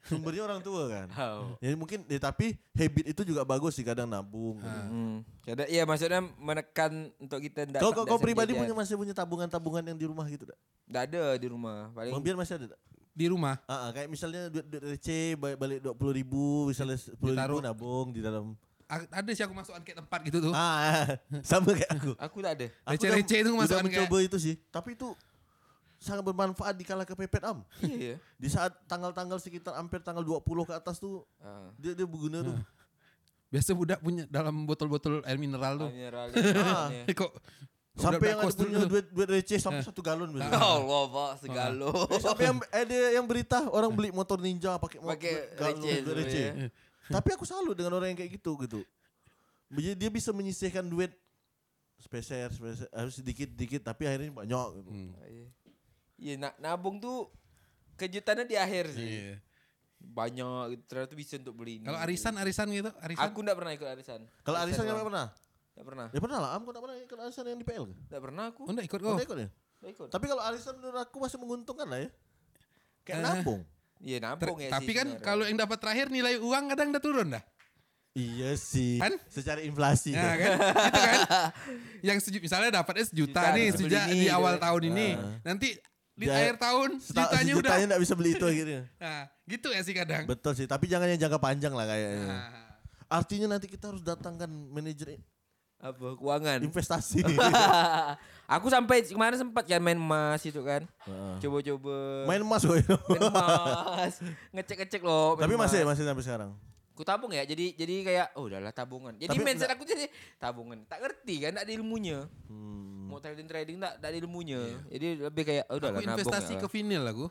[SPEAKER 3] sumbernya orang tua kan.
[SPEAKER 2] Oh.
[SPEAKER 3] Ya mungkin ya, tapi habit itu juga bagus sih kadang nabung.
[SPEAKER 4] Ah.
[SPEAKER 2] Hmm. Jadi iya maksudnya menekan untuk kita ndak
[SPEAKER 3] Kau kau,
[SPEAKER 2] ndak
[SPEAKER 3] kau
[SPEAKER 2] sering
[SPEAKER 3] pribadi
[SPEAKER 2] jajan.
[SPEAKER 3] punya masih punya tabungan-tabungan yang di rumah gitu dah.
[SPEAKER 2] Ndak ada di rumah. Paling
[SPEAKER 3] Bang Bian masih ada dah?
[SPEAKER 4] Di rumah.
[SPEAKER 3] Ah, ah, kayak misalnya duit, duit receh balik, balik 20 ribu, misalnya 10 ribu
[SPEAKER 4] Ditaruh.
[SPEAKER 3] nabung di dalam.
[SPEAKER 4] A- Ada sih aku masukkan ke tempat gitu tuh.
[SPEAKER 3] Ah, sama kayak aku.
[SPEAKER 2] aku tak ada.
[SPEAKER 3] Aku
[SPEAKER 4] Receh-receh
[SPEAKER 3] udah-
[SPEAKER 4] itu
[SPEAKER 3] udah
[SPEAKER 4] masukkan kayak-
[SPEAKER 3] mencoba itu sih. Tapi itu sangat bermanfaat di kala kepepet am.
[SPEAKER 2] Iya.
[SPEAKER 3] Di saat tanggal-tanggal sekitar hampir tanggal 20 ke atas tuh
[SPEAKER 2] Ah.
[SPEAKER 3] dia dia berguna tuh.
[SPEAKER 4] Biasa budak punya dalam botol-botol air mineral tuh.
[SPEAKER 2] Mineral. Iya.
[SPEAKER 4] Eh, Kok budak-budak
[SPEAKER 3] Sampai yang ada
[SPEAKER 4] kos dulu Eh. Oh.
[SPEAKER 3] punya
[SPEAKER 4] tuh.
[SPEAKER 3] duit duit receh sampai satu galon
[SPEAKER 2] Ya
[SPEAKER 3] biasanya.
[SPEAKER 2] Allah, Pak, segalo.
[SPEAKER 3] Eh, Sampai yang ada yang berita orang beli motor ninja pakai motor
[SPEAKER 2] Pakai receh
[SPEAKER 3] galon duit
[SPEAKER 2] tuh,
[SPEAKER 3] receh.
[SPEAKER 2] ya.
[SPEAKER 3] Tapi aku salut dengan orang yang kayak gitu gitu. Jadi dia bisa menyisihkan duit speser, speser harus sedikit-sedikit tapi akhirnya banyak gitu.
[SPEAKER 4] Hmm.
[SPEAKER 2] Iya. Iya, nak nabung tuh kejutannya di akhir sih.
[SPEAKER 4] Iya.
[SPEAKER 2] Banyak gitu, ternyata bisa untuk beli ini.
[SPEAKER 4] Kalau arisan arisan gitu, arisan.
[SPEAKER 2] Aku ndak pernah ikut arisan.
[SPEAKER 3] Kalau arisan yang
[SPEAKER 2] doang.
[SPEAKER 3] pernah?
[SPEAKER 2] Ndak pernah.
[SPEAKER 3] Ya pernah lah, am kau tak pernah ikut arisan yang di PL ke?
[SPEAKER 2] Ndak pernah aku.
[SPEAKER 4] Oh, enggak ikut
[SPEAKER 3] Kau
[SPEAKER 4] kok.
[SPEAKER 3] tak ikut ya?
[SPEAKER 2] Ndak ikut.
[SPEAKER 3] Tapi kalau arisan menurut aku masih menguntungkan lah ya. Kayak
[SPEAKER 4] Eh.
[SPEAKER 3] nabung.
[SPEAKER 2] Iya,
[SPEAKER 4] Ter-
[SPEAKER 2] nabung ya sih.
[SPEAKER 4] tapi kan
[SPEAKER 2] sebenarnya.
[SPEAKER 4] kalau yang dapat terakhir nilai uang kadang udah turun dah.
[SPEAKER 3] Iya sih.
[SPEAKER 4] Kan?
[SPEAKER 3] Secara inflasi.
[SPEAKER 2] Iya.
[SPEAKER 4] Nah, kan? gitu kan? Yang seju- misalnya dapatnya sejuta
[SPEAKER 2] Juta,
[SPEAKER 4] nih
[SPEAKER 2] beli
[SPEAKER 4] sejak
[SPEAKER 2] ini,
[SPEAKER 4] di
[SPEAKER 2] gitu.
[SPEAKER 4] awal tahun ini.
[SPEAKER 3] Nah.
[SPEAKER 4] Nanti di
[SPEAKER 3] Dia-
[SPEAKER 4] akhir tahun
[SPEAKER 3] Seta-
[SPEAKER 4] jutanya udah.
[SPEAKER 3] Sejutanya nggak bisa beli itu akhirnya.
[SPEAKER 4] Nah, gitu ya sih kadang.
[SPEAKER 3] Betul sih, tapi jangan yang jangka panjang lah kayaknya.
[SPEAKER 4] Nah.
[SPEAKER 3] Artinya nanti kita harus datangkan manajer i-
[SPEAKER 2] apa keuangan.
[SPEAKER 3] investasi.
[SPEAKER 2] aku sampai kemarin sempat kan main emas itu kan.
[SPEAKER 3] Heeh.
[SPEAKER 2] Coba-coba.
[SPEAKER 3] Main emas
[SPEAKER 4] Eh.
[SPEAKER 3] gue.
[SPEAKER 2] Main emas. Ngecek-ngecek loh. main
[SPEAKER 3] tapi masih
[SPEAKER 2] emas.
[SPEAKER 3] masih sampai sekarang.
[SPEAKER 2] Aku tabung ya. Jadi jadi kayak oh udahlah tabungan. Jadi
[SPEAKER 3] Tapi
[SPEAKER 2] mindset aku jadi tabungan. Tak ngerti kan tak ada ilmunya.
[SPEAKER 3] Hmm.
[SPEAKER 2] Mau trading trading tak tak ada ilmunya. Jadi lebih kayak oh
[SPEAKER 4] Aku
[SPEAKER 2] udahlah nabung.
[SPEAKER 4] investasi
[SPEAKER 2] ya.
[SPEAKER 4] ke vinyl aku.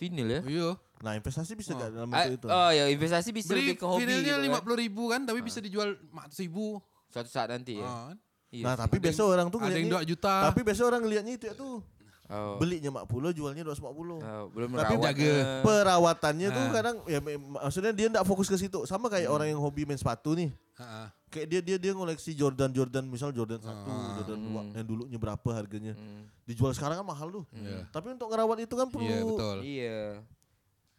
[SPEAKER 2] vinyl ya.
[SPEAKER 4] Iya.
[SPEAKER 3] Nah, investasi bisa nggak dalam
[SPEAKER 2] Ah,
[SPEAKER 4] Eh,
[SPEAKER 3] bentuk itu?
[SPEAKER 2] oh ya investasi bisa
[SPEAKER 4] Beli
[SPEAKER 2] lebih ke hobi
[SPEAKER 4] vinylnya
[SPEAKER 2] gitu
[SPEAKER 4] lima
[SPEAKER 2] kan.
[SPEAKER 4] puluh ribu kan, tapi bisa dijual empat ratus ribu.
[SPEAKER 2] Suatu saat nanti ya.
[SPEAKER 4] Ah, kan?
[SPEAKER 2] Iya
[SPEAKER 3] nah,
[SPEAKER 2] sih.
[SPEAKER 3] tapi biasa orang tuh
[SPEAKER 4] Ada yang dua
[SPEAKER 3] ngeliatnya
[SPEAKER 4] juta.
[SPEAKER 3] tapi biasa orang ngeliatnya itu ya tuh
[SPEAKER 2] oh.
[SPEAKER 3] belinya 40 jualnya
[SPEAKER 4] Eh.
[SPEAKER 3] 250.
[SPEAKER 2] Oh, belum
[SPEAKER 3] Tapi
[SPEAKER 2] merawat.
[SPEAKER 4] jaga.
[SPEAKER 2] eh.
[SPEAKER 3] Perawatannya tuh
[SPEAKER 4] Ah.
[SPEAKER 3] kadang ya me- maksudnya dia nggak fokus ke situ. Sama kayak
[SPEAKER 4] Hmm.
[SPEAKER 3] orang yang hobi main sepatu nih.
[SPEAKER 4] Ah, ah.
[SPEAKER 3] Kayak dia dia dia ngoleksi Jordan Jordan misal Jordan 1,
[SPEAKER 4] Ah.
[SPEAKER 3] Jordan 2
[SPEAKER 2] Hmm.
[SPEAKER 3] yang dulunya berapa harganya.
[SPEAKER 2] Hmm.
[SPEAKER 3] Dijual sekarang kan mahal tuh.
[SPEAKER 4] Iya.
[SPEAKER 3] Tapi untuk ngerawat itu kan perlu
[SPEAKER 4] Iya betul.
[SPEAKER 2] Iya.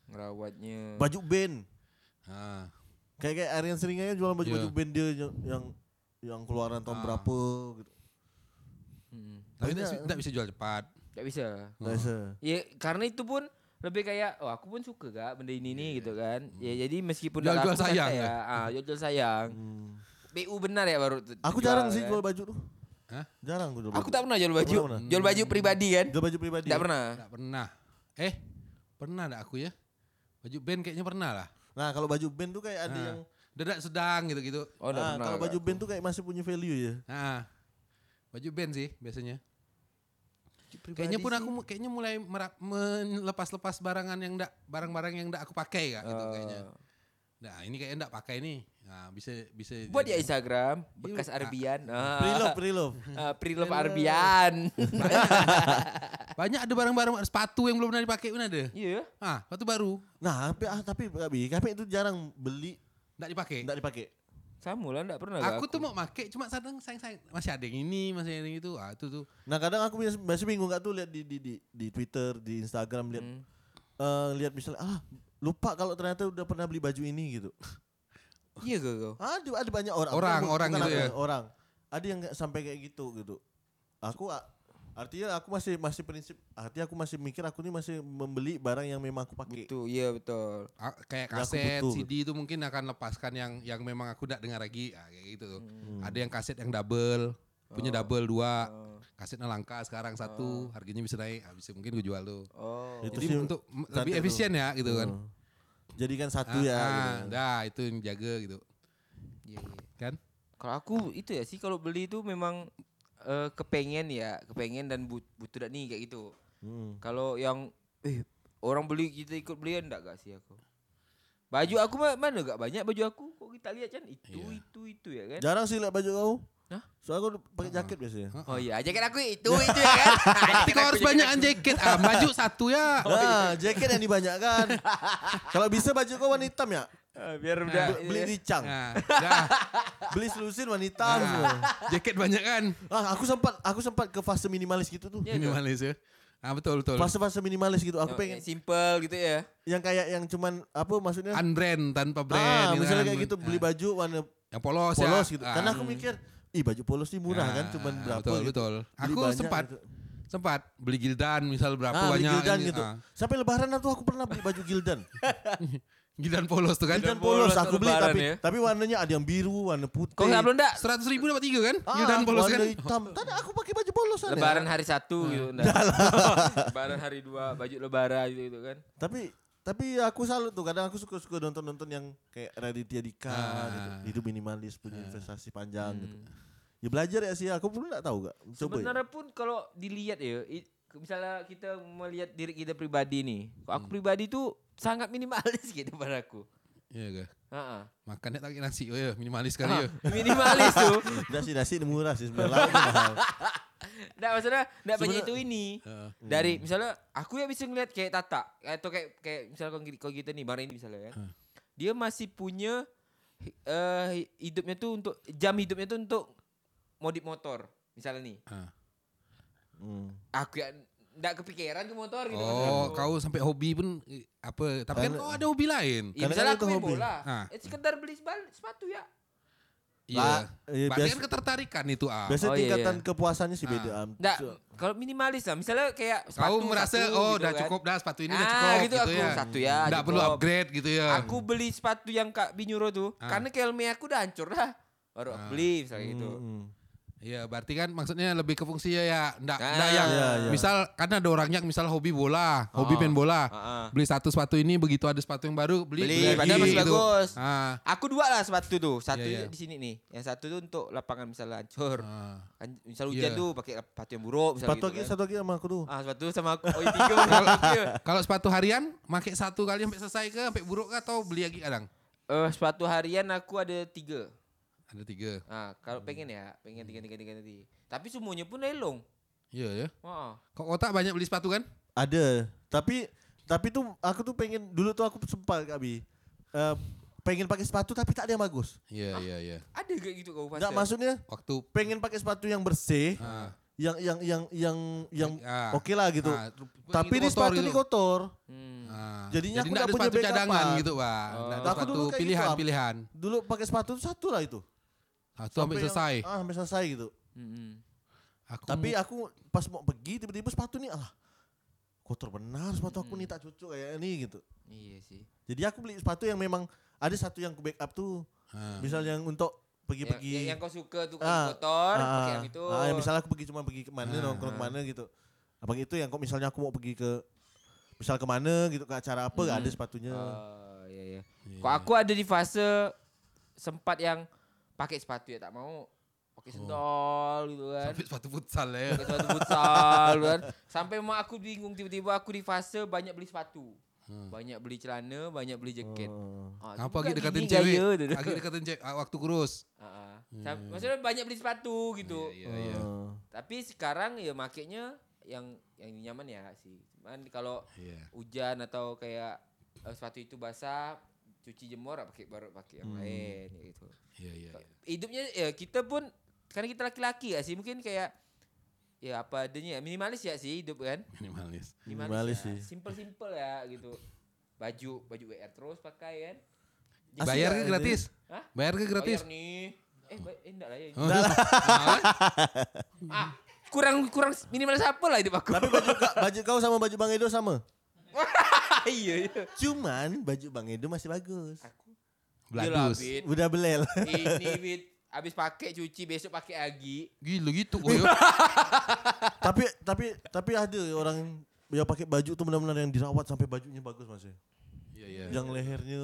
[SPEAKER 2] Ngerawatnya.
[SPEAKER 3] baju band.
[SPEAKER 4] Ah.
[SPEAKER 3] Kayak kayak Aryan seringnya jualan baju-baju
[SPEAKER 4] Iya.
[SPEAKER 3] band dia yang, yang yang keluaran
[SPEAKER 4] Ah.
[SPEAKER 3] tahun berapa gitu.
[SPEAKER 4] Tapi
[SPEAKER 3] Banyak.
[SPEAKER 4] tidak bisa jual cepat.
[SPEAKER 2] Gak Hmm. bisa.
[SPEAKER 4] Ah.
[SPEAKER 3] Nggak bisa.
[SPEAKER 2] Ya karena itu pun lebih kayak oh aku pun suka gak benda ini
[SPEAKER 3] Iya,
[SPEAKER 2] nih gitu kan. Ya jadi meskipun
[SPEAKER 4] Jual-
[SPEAKER 2] dalam
[SPEAKER 4] jual
[SPEAKER 2] aku kan
[SPEAKER 4] sayang,
[SPEAKER 2] kayak,
[SPEAKER 4] ya?
[SPEAKER 2] ah, jual, jual sayang.
[SPEAKER 3] Hmm.
[SPEAKER 2] BU benar ya baru tu-
[SPEAKER 3] Aku jarang sih
[SPEAKER 2] kan.
[SPEAKER 3] jual baju tuh.
[SPEAKER 4] eh. Hah?
[SPEAKER 3] Jarang gue jual
[SPEAKER 2] Aku
[SPEAKER 3] baju.
[SPEAKER 2] tak pernah jual
[SPEAKER 3] Nggak
[SPEAKER 2] baju.
[SPEAKER 3] pernah.
[SPEAKER 2] Jual baju pribadi kan?
[SPEAKER 3] Jual baju pribadi.
[SPEAKER 2] Tak pernah.
[SPEAKER 4] Tidak pernah. Eh, pernah tidak aku ya? Baju band kayaknya pernah lah.
[SPEAKER 3] Nah kalau baju band tuh kayak ada
[SPEAKER 4] Ah.
[SPEAKER 3] yang
[SPEAKER 4] Dadak sedang gitu-gitu.
[SPEAKER 2] Oh, tak
[SPEAKER 3] ah,
[SPEAKER 2] pernah.
[SPEAKER 3] kalau baju band tuh kayak masih punya value ya.
[SPEAKER 4] Nah, baju band sih biasanya. Kayaknya pun aku mu- kayaknya mulai merap- melepas-lepas barangan yang ndak barang-barang yang ndak aku pakai kak
[SPEAKER 3] Oh.
[SPEAKER 4] gitu kayaknya. Nah, ini kayaknya ndak pakai nih. Nah, bisa bisa
[SPEAKER 2] Buat ya
[SPEAKER 4] jadi.
[SPEAKER 2] Instagram bekas
[SPEAKER 4] Yuk, ah.
[SPEAKER 2] Arbian.
[SPEAKER 3] Iya. Pre-love, Iya.
[SPEAKER 2] Ah,
[SPEAKER 3] pre-love.
[SPEAKER 2] ah, Pre-love Arbian.
[SPEAKER 4] Banyak ada barang-barang ada sepatu yang belum pernah dipakai pun ada.
[SPEAKER 2] Iya.
[SPEAKER 4] Ah, sepatu baru
[SPEAKER 3] Nah, tapi ah, tapi tapi tapi itu jarang beli
[SPEAKER 4] ndak dipakai.
[SPEAKER 3] enggak dipakai.
[SPEAKER 2] Sama lah enggak pernah.
[SPEAKER 4] Aku tuh mau pakai cuma kadang sayang-sayang masih ada yang ini, masih ada yang itu. Ah, itu tuh.
[SPEAKER 3] Nah, kadang aku biasa- masih bingung enggak tuh lihat di di di, di Twitter, di Instagram lihat
[SPEAKER 2] Hmm.
[SPEAKER 3] eh, lihat misalnya ah lupa kalau ternyata udah pernah beli baju ini gitu.
[SPEAKER 2] Iya gak kau?
[SPEAKER 3] Ada ada banyak orang.
[SPEAKER 4] Orang,
[SPEAKER 3] Bukan-
[SPEAKER 4] orang
[SPEAKER 3] bukan
[SPEAKER 4] gitu
[SPEAKER 3] aku,
[SPEAKER 4] ya.
[SPEAKER 3] Orang. Ada yang nggak sampai kayak gitu gitu. Aku a- artinya aku masih masih prinsip artinya aku masih mikir aku nih masih membeli barang yang memang aku pakai.
[SPEAKER 2] Betul, iya betul.
[SPEAKER 4] Ah, kayak
[SPEAKER 3] Ya, aku
[SPEAKER 4] kaset,
[SPEAKER 3] butuh.
[SPEAKER 4] CD itu mungkin akan lepaskan yang yang memang aku tidak dengar lagi, Ah, kayak gitu tuh.
[SPEAKER 3] Hmm.
[SPEAKER 4] Ada yang kaset yang double, punya
[SPEAKER 3] Oh.
[SPEAKER 4] double dua,
[SPEAKER 2] Ah,
[SPEAKER 4] kasetnya langka sekarang satu, harganya bisa naik, ah, bisa mungkin gue jual tuh.
[SPEAKER 2] Oh.
[SPEAKER 3] Itu
[SPEAKER 4] Jadi
[SPEAKER 3] sih
[SPEAKER 4] untuk m-
[SPEAKER 3] cantik
[SPEAKER 4] lebih
[SPEAKER 3] tuh.
[SPEAKER 4] efisien ya gitu kan.
[SPEAKER 3] Hmm. Jadikan satu
[SPEAKER 4] Ah,
[SPEAKER 3] ya.
[SPEAKER 4] ah,
[SPEAKER 3] gitu.
[SPEAKER 4] dah itu yang jaga gitu
[SPEAKER 2] Iya, iya.
[SPEAKER 4] kan.
[SPEAKER 2] Kalau aku itu ya sih kalau beli itu memang eh, kepengen ya, kepengen dan but- butuh dah nih kayak gitu.
[SPEAKER 3] Hmm.
[SPEAKER 2] Kalau yang eh orang beli kita ikut beli kan enggak gak sih aku? Baju aku ma- mana gak banyak baju aku kok kita lihat kan itu
[SPEAKER 4] Iya.
[SPEAKER 2] itu itu ya kan.
[SPEAKER 3] Jarang sih lihat baju kau.
[SPEAKER 2] Hah?
[SPEAKER 3] Soalnya aku pakai jaket biasanya.
[SPEAKER 2] Oh iya, jaket aku itu itu ya kan.
[SPEAKER 4] Tapi kau harus banyakan jaket, ah baju satu ya.
[SPEAKER 3] Nah, jaket yang dibanyakan. Kalau bisa baju kau warna hitam ya?
[SPEAKER 4] Eh,
[SPEAKER 2] Ah, Biar udah
[SPEAKER 3] Be- Beli ricang,
[SPEAKER 4] Nah, dah
[SPEAKER 3] beli selusin warna hitam semua.
[SPEAKER 4] jaket banyak kan.
[SPEAKER 3] Ah, aku sempat aku sempat ke fase minimalis gitu tuh.
[SPEAKER 2] Iya, tuh.
[SPEAKER 4] Minimalis ya. Ah betul betul.
[SPEAKER 3] Fase-fase minimalis gitu.
[SPEAKER 2] yang-
[SPEAKER 3] Aku pengen
[SPEAKER 2] yang simple gitu
[SPEAKER 4] Iya.
[SPEAKER 2] ya.
[SPEAKER 3] yang kayak yang cuman apa maksudnya?
[SPEAKER 4] Unbrand Kan tanpa
[SPEAKER 3] Ya. ah,
[SPEAKER 4] brand. gitu
[SPEAKER 3] misalnya
[SPEAKER 4] kan.
[SPEAKER 3] kayak gitu beli
[SPEAKER 4] Ah,
[SPEAKER 3] baju warna
[SPEAKER 4] yang polos, ya.
[SPEAKER 3] polos gitu.
[SPEAKER 4] Ah.
[SPEAKER 3] Karena aku mikir, ih baju polos nih murah
[SPEAKER 4] Ah,
[SPEAKER 3] kan, cuman berapa
[SPEAKER 4] betul,
[SPEAKER 3] gitu.
[SPEAKER 4] Betul.
[SPEAKER 3] Beli
[SPEAKER 4] Aku
[SPEAKER 3] banyak
[SPEAKER 4] sempat
[SPEAKER 3] gitu.
[SPEAKER 4] sempat beli gildan misal berapa
[SPEAKER 3] Ah, beli
[SPEAKER 4] banyak
[SPEAKER 3] gildan
[SPEAKER 4] ini,
[SPEAKER 3] gitu.
[SPEAKER 4] ah.
[SPEAKER 3] Sampai lebaran tuh aku pernah beli baju gildan.
[SPEAKER 4] Gildan polos tuh kan.
[SPEAKER 3] gildan
[SPEAKER 2] Gildan
[SPEAKER 3] polos
[SPEAKER 2] polos
[SPEAKER 3] aku beli
[SPEAKER 2] lebaran
[SPEAKER 3] tapi
[SPEAKER 2] ya.
[SPEAKER 3] tapi warnanya ada yang biru, warna putih.
[SPEAKER 2] Kau nggak belum enggak?
[SPEAKER 4] Seratus ribu dapat tiga kan?
[SPEAKER 3] Ah,
[SPEAKER 4] Gildan polos
[SPEAKER 3] warna
[SPEAKER 4] kan.
[SPEAKER 3] hitam. Tadi aku pakai baju polos kan. ya.
[SPEAKER 2] Lebaran hari satu gitu
[SPEAKER 4] Iya.
[SPEAKER 2] enggak. lebaran hari dua baju lebaran gitu, gitu kan.
[SPEAKER 3] Tapi tapi aku salut tuh kadang aku suka suka nonton nonton yang kayak Raditya Dika
[SPEAKER 4] Ah.
[SPEAKER 3] gitu. Hidup minimalis punya
[SPEAKER 2] Ah.
[SPEAKER 3] investasi panjang gitu.
[SPEAKER 2] Hmm.
[SPEAKER 3] Ya belajar ya sih aku belum nggak tahu gak. Coba ya.
[SPEAKER 2] Sebenarnya pun kalau dilihat ya, i- ke- misalnya kita melihat diri kita pribadi nih. Kalau aku pribadi tuh sangat minimalis gitu pada aku.
[SPEAKER 4] Iya gak?
[SPEAKER 2] Ha-ha.
[SPEAKER 4] Makannya tak pakai nasi. Oh iya, minimalis sekali
[SPEAKER 2] Ah,
[SPEAKER 4] ya.
[SPEAKER 2] minimalis tuh.
[SPEAKER 3] Dasi dasi ini murah sih sebenarnya. Lauknya mahal.
[SPEAKER 2] Enggak maksudnya enggak banyak
[SPEAKER 3] Sebenarnya-
[SPEAKER 2] itu ini.
[SPEAKER 4] Heeh.
[SPEAKER 2] Dari misalnya aku ya bisa ngeliat kayak Tata atau kayak kayak misalnya kalau kita, kita nih barang ini misalnya kan. Dia masih punya eh hidupnya tuh untuk jam hidupnya tuh untuk modif motor misalnya nih.
[SPEAKER 4] Ah.
[SPEAKER 3] Hmm.
[SPEAKER 2] Aku ya enggak kepikiran ke motor gitu
[SPEAKER 4] Oh,
[SPEAKER 2] maksud aku.
[SPEAKER 4] kau sampai hobi pun eh, apa? Tapi kan
[SPEAKER 3] Karena-
[SPEAKER 4] kau ada hobi lain.
[SPEAKER 2] Ya,
[SPEAKER 3] Kadang-kadang
[SPEAKER 2] misalnya
[SPEAKER 3] itu
[SPEAKER 2] aku main
[SPEAKER 3] hobi.
[SPEAKER 2] bola.
[SPEAKER 4] Ah.
[SPEAKER 2] Eh, sekedar beli sebal- sepatu ya.
[SPEAKER 4] Iya.
[SPEAKER 3] iya,
[SPEAKER 4] Berarti
[SPEAKER 3] biasa-
[SPEAKER 4] kan ketertarikan itu ah.
[SPEAKER 3] Biasanya
[SPEAKER 2] Oh, iya,
[SPEAKER 3] tingkatan
[SPEAKER 2] iya.
[SPEAKER 3] kepuasannya sih beda. Am.
[SPEAKER 2] Enggak,
[SPEAKER 3] So-
[SPEAKER 2] kalau minimalis lah. Misalnya kayak
[SPEAKER 4] Kau
[SPEAKER 2] sepatu
[SPEAKER 4] merasa
[SPEAKER 2] satu
[SPEAKER 4] oh
[SPEAKER 2] gitu
[SPEAKER 4] dah
[SPEAKER 2] kan.
[SPEAKER 4] cukup dah sepatu ini dah
[SPEAKER 2] Ah,
[SPEAKER 4] cukup
[SPEAKER 2] gitu aku,
[SPEAKER 4] ya.
[SPEAKER 2] satu ya,
[SPEAKER 4] Nggak perlu
[SPEAKER 2] cukup.
[SPEAKER 4] upgrade gitu ya.
[SPEAKER 2] Aku beli sepatu yang Kak Binyuro tuh
[SPEAKER 4] Ah.
[SPEAKER 2] karena kelme aku udah hancur dah. Baru aku beli misalnya gitu.
[SPEAKER 3] Hmm.
[SPEAKER 4] Iya, berarti kan maksudnya lebih ke fungsi ya, ya. Nggak,
[SPEAKER 2] Ah.
[SPEAKER 4] nggak yang
[SPEAKER 3] Iya, iya.
[SPEAKER 4] misal karena ada orang yang misal hobi bola, hobi main bola.
[SPEAKER 2] Ah, ah.
[SPEAKER 4] Beli satu sepatu ini begitu ada sepatu yang baru beli, gitu.
[SPEAKER 2] Beli, padahal masih bagus.
[SPEAKER 4] Ah,
[SPEAKER 2] Aku dua lah sepatu tuh. Satu
[SPEAKER 4] Iya, iya.
[SPEAKER 2] di sini nih. Yang satu tuh untuk lapangan misalnya hancur.
[SPEAKER 4] ah.
[SPEAKER 2] Kan Misal hujan
[SPEAKER 4] Iya.
[SPEAKER 2] tuh pakai sepatu yang buruk misalnya
[SPEAKER 3] Sepatu lagi
[SPEAKER 2] gitu. Kan.
[SPEAKER 3] satu lagi sama aku tuh.
[SPEAKER 2] Ah, sepatu sama aku. Oh, iya, tiga orang aku ya.
[SPEAKER 4] Kalau sepatu harian, pakai satu kali sampai selesai ke, sampai buruk ke atau beli lagi kadang?
[SPEAKER 2] Eh, sepatu harian aku ada tiga.
[SPEAKER 4] Ada tiga.
[SPEAKER 2] Nah, kalau pengen ya, pengen tiga tiga tiga nanti. Tapi semuanya pun Ha, lelong.
[SPEAKER 4] Iya ya.
[SPEAKER 2] Heeh.
[SPEAKER 4] Kok kotak banyak beli sepatu kan?
[SPEAKER 3] Ada. Tapi tapi tuh aku tuh pengen dulu tuh aku sempat Kak Bi. Eh, pengen pakai sepatu tapi tak ada yang bagus.
[SPEAKER 4] Iya iya iya.
[SPEAKER 2] Ada gak gitu kau pasal?
[SPEAKER 3] Enggak maksudnya
[SPEAKER 4] Waktu
[SPEAKER 3] pengen pakai sepatu yang bersih.
[SPEAKER 4] ah,
[SPEAKER 3] yang yang yang yang yang
[SPEAKER 4] Ah.
[SPEAKER 3] oke lah gitu.
[SPEAKER 4] Ah, rup- ini
[SPEAKER 3] Tapi ini
[SPEAKER 4] kotor
[SPEAKER 3] sepatu
[SPEAKER 4] gitu.
[SPEAKER 3] ini kotor.
[SPEAKER 2] Hmm.
[SPEAKER 4] Ah,
[SPEAKER 3] Jadinya
[SPEAKER 4] nggak
[SPEAKER 3] aku nggak
[SPEAKER 4] ada
[SPEAKER 3] punya
[SPEAKER 4] sepatu
[SPEAKER 3] backup,
[SPEAKER 4] cadangan
[SPEAKER 3] Pak.
[SPEAKER 4] gitu pak. Nggak ada
[SPEAKER 3] Nah, aku
[SPEAKER 4] sepatu
[SPEAKER 3] dulu kayak gitu, Am.
[SPEAKER 4] pilihan-pilihan.
[SPEAKER 3] Dulu pakai sepatu tuh satu lah itu.
[SPEAKER 4] Satu sampai
[SPEAKER 3] yang-
[SPEAKER 4] selesai.
[SPEAKER 3] ah, sampai selesai gitu.
[SPEAKER 2] Hmm.
[SPEAKER 4] Aku
[SPEAKER 3] Tapi
[SPEAKER 4] mau-
[SPEAKER 3] ya, aku pas mau pergi tiba-tiba sepatu nih alah kotor benar sepatu aku
[SPEAKER 4] Hmm.
[SPEAKER 3] nih tak cocok kayak ini gitu.
[SPEAKER 2] Iya sih.
[SPEAKER 3] Jadi aku beli sepatu yang memang ada satu yang ku backup tuh.
[SPEAKER 4] Ah.
[SPEAKER 3] Misalnya yang untuk
[SPEAKER 2] Yang,
[SPEAKER 3] pergi-pergi.
[SPEAKER 2] Ya, yang- yang kau suka tuh kan
[SPEAKER 3] Ah,
[SPEAKER 2] kotor,
[SPEAKER 3] ah,
[SPEAKER 2] pakai yang itu.
[SPEAKER 3] ah, yang misalnya aku pergi cuma pergi kemana
[SPEAKER 4] Ah,
[SPEAKER 3] nongkrong kemana gitu. Abang itu yang kok misalnya aku mau pergi ke misal kemana gitu ke acara apa
[SPEAKER 4] Hmm.
[SPEAKER 3] gak ada sepatunya.
[SPEAKER 4] Ah.
[SPEAKER 2] Oh, iya iya. Kok aku ada di fase sempat yang pakai sepatu ya tak mau pakai sendal gitu kan.
[SPEAKER 4] Sampai sepatu futsal ya.
[SPEAKER 2] Pakai sepatu futsal gitu kan. Sampai mak aku bingung tiba-tiba aku di fase banyak beli sepatu. Banyak beli celana, banyak beli jaket.
[SPEAKER 3] Oh.
[SPEAKER 2] Ah, tu
[SPEAKER 4] Apa
[SPEAKER 2] bukan
[SPEAKER 4] lagi dekatin
[SPEAKER 2] gini
[SPEAKER 4] cewek?
[SPEAKER 2] gaya tu.
[SPEAKER 4] Lagi dekatin cewek ah, waktu kurus.
[SPEAKER 2] Ah, ah. Sam- Maksudnya banyak beli sepatu gitu.
[SPEAKER 4] Hmm. Iya, iya.
[SPEAKER 3] Ah.
[SPEAKER 2] Tapi sekarang ya makainya yang yang nyaman ya sih. Cuman kalau
[SPEAKER 4] Iya.
[SPEAKER 2] hujan atau kayak eh, sepatu itu basah, cuci jemur ah, pakai baru pakai yang lain gitu.
[SPEAKER 4] Hmm. Iya, iya.
[SPEAKER 2] Hidupnya ya kita pun karena kita laki-laki ya sih mungkin kayak ya apa adanya minimalis ya sih hidup kan.
[SPEAKER 4] Minimalis.
[SPEAKER 3] Minimalis
[SPEAKER 2] ya.
[SPEAKER 3] sih.
[SPEAKER 2] Simple-simple ya gitu. Baju baju WR terus pakai kan.
[SPEAKER 3] Asli
[SPEAKER 4] Bayar
[SPEAKER 3] gak
[SPEAKER 4] ke
[SPEAKER 3] ini?
[SPEAKER 4] gratis?
[SPEAKER 2] Hah?
[SPEAKER 4] Bayar ke gratis?
[SPEAKER 2] Bayar nih. Eh, ba- eh enggak lah ya.
[SPEAKER 4] Oh, malah.
[SPEAKER 2] Ah, kurang kurang minimalis apa lah hidup aku.
[SPEAKER 3] Tapi baju ka- baju kau sama baju Bang Edo sama.
[SPEAKER 2] iya iya.
[SPEAKER 3] Cuman baju Bang Edo masih bagus.
[SPEAKER 2] Aku
[SPEAKER 4] Beladus.
[SPEAKER 2] Yelah, Bit.
[SPEAKER 3] Udah belel.
[SPEAKER 2] Ini bit habis pakai cuci besok pakai lagi.
[SPEAKER 4] Gila gitu. Oh, ya.
[SPEAKER 3] tapi tapi tapi ada orang yang pakai baju tuh benar-benar yang dirawat sampai bajunya bagus masih.
[SPEAKER 4] Iya, iya.
[SPEAKER 3] Yang lehernya.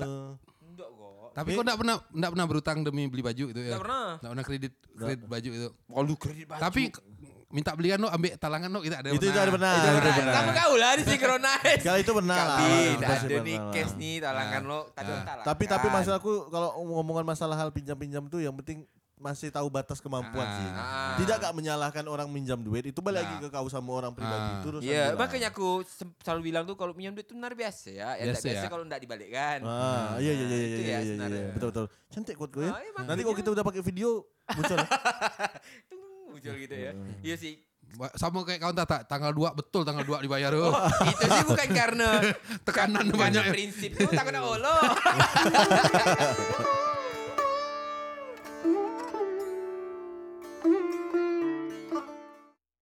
[SPEAKER 2] Enggak kok.
[SPEAKER 4] Tapi kok enggak pernah enggak pernah berutang demi beli baju gitu ya?
[SPEAKER 2] Nggak pernah.
[SPEAKER 4] Enggak pernah kredit kredit baju itu.
[SPEAKER 2] Walu kredit
[SPEAKER 4] Tapi k- minta belian lo ambil talangan lo kita ada.
[SPEAKER 3] Itu- itu ada pernah.
[SPEAKER 4] Itu
[SPEAKER 3] Itu
[SPEAKER 4] pernah.
[SPEAKER 3] ada
[SPEAKER 2] Sama kau lah di sinkronize.
[SPEAKER 3] Kalau itu benar lah.
[SPEAKER 2] Kabin,
[SPEAKER 3] Pasti
[SPEAKER 2] ada
[SPEAKER 3] benar
[SPEAKER 2] nih
[SPEAKER 3] lah.
[SPEAKER 2] case nih talangan lo. Kan. Tadi
[SPEAKER 4] Nah.
[SPEAKER 2] talangan.
[SPEAKER 3] Tapi tapi masalah aku kalau ngomongan masalah hal pinjam-pinjam tuh yang penting masih tahu batas kemampuan
[SPEAKER 4] Ah.
[SPEAKER 3] sih.
[SPEAKER 2] Ah.
[SPEAKER 3] Tidak gak menyalahkan orang minjam duit itu balik lagi
[SPEAKER 4] Nah.
[SPEAKER 3] ke kau sama orang pribadi
[SPEAKER 4] Ah.
[SPEAKER 3] terus.
[SPEAKER 2] Iya, makanya aku sem- selalu bilang tuh kalau pinjam duit itu benar biasa ya. Ya tak
[SPEAKER 4] Biasa
[SPEAKER 2] biasa
[SPEAKER 4] ya.
[SPEAKER 2] kalau enggak dibalikkan.
[SPEAKER 3] Ah, iya iya
[SPEAKER 2] kan?
[SPEAKER 3] iya
[SPEAKER 2] Nah, itu
[SPEAKER 3] iya
[SPEAKER 2] ya
[SPEAKER 3] iya iya, iya,
[SPEAKER 2] sebenarnya.
[SPEAKER 3] iya. betul betul. Cantik kuat gue ya.
[SPEAKER 2] Ah, iya,
[SPEAKER 3] Nanti kalau kita udah pakai video muncul.
[SPEAKER 2] Tung, Muncul gitu ya. Iya sih.
[SPEAKER 4] Ba- Sama kayak kawan tata tanggal 2 betul tanggal 2 dibayar. Oh.
[SPEAKER 2] Itu sih bukan karena
[SPEAKER 4] Tekanan ya.
[SPEAKER 2] Iya, bukan
[SPEAKER 4] banyak.
[SPEAKER 2] "Oh, prinsip tuh takut nak olo.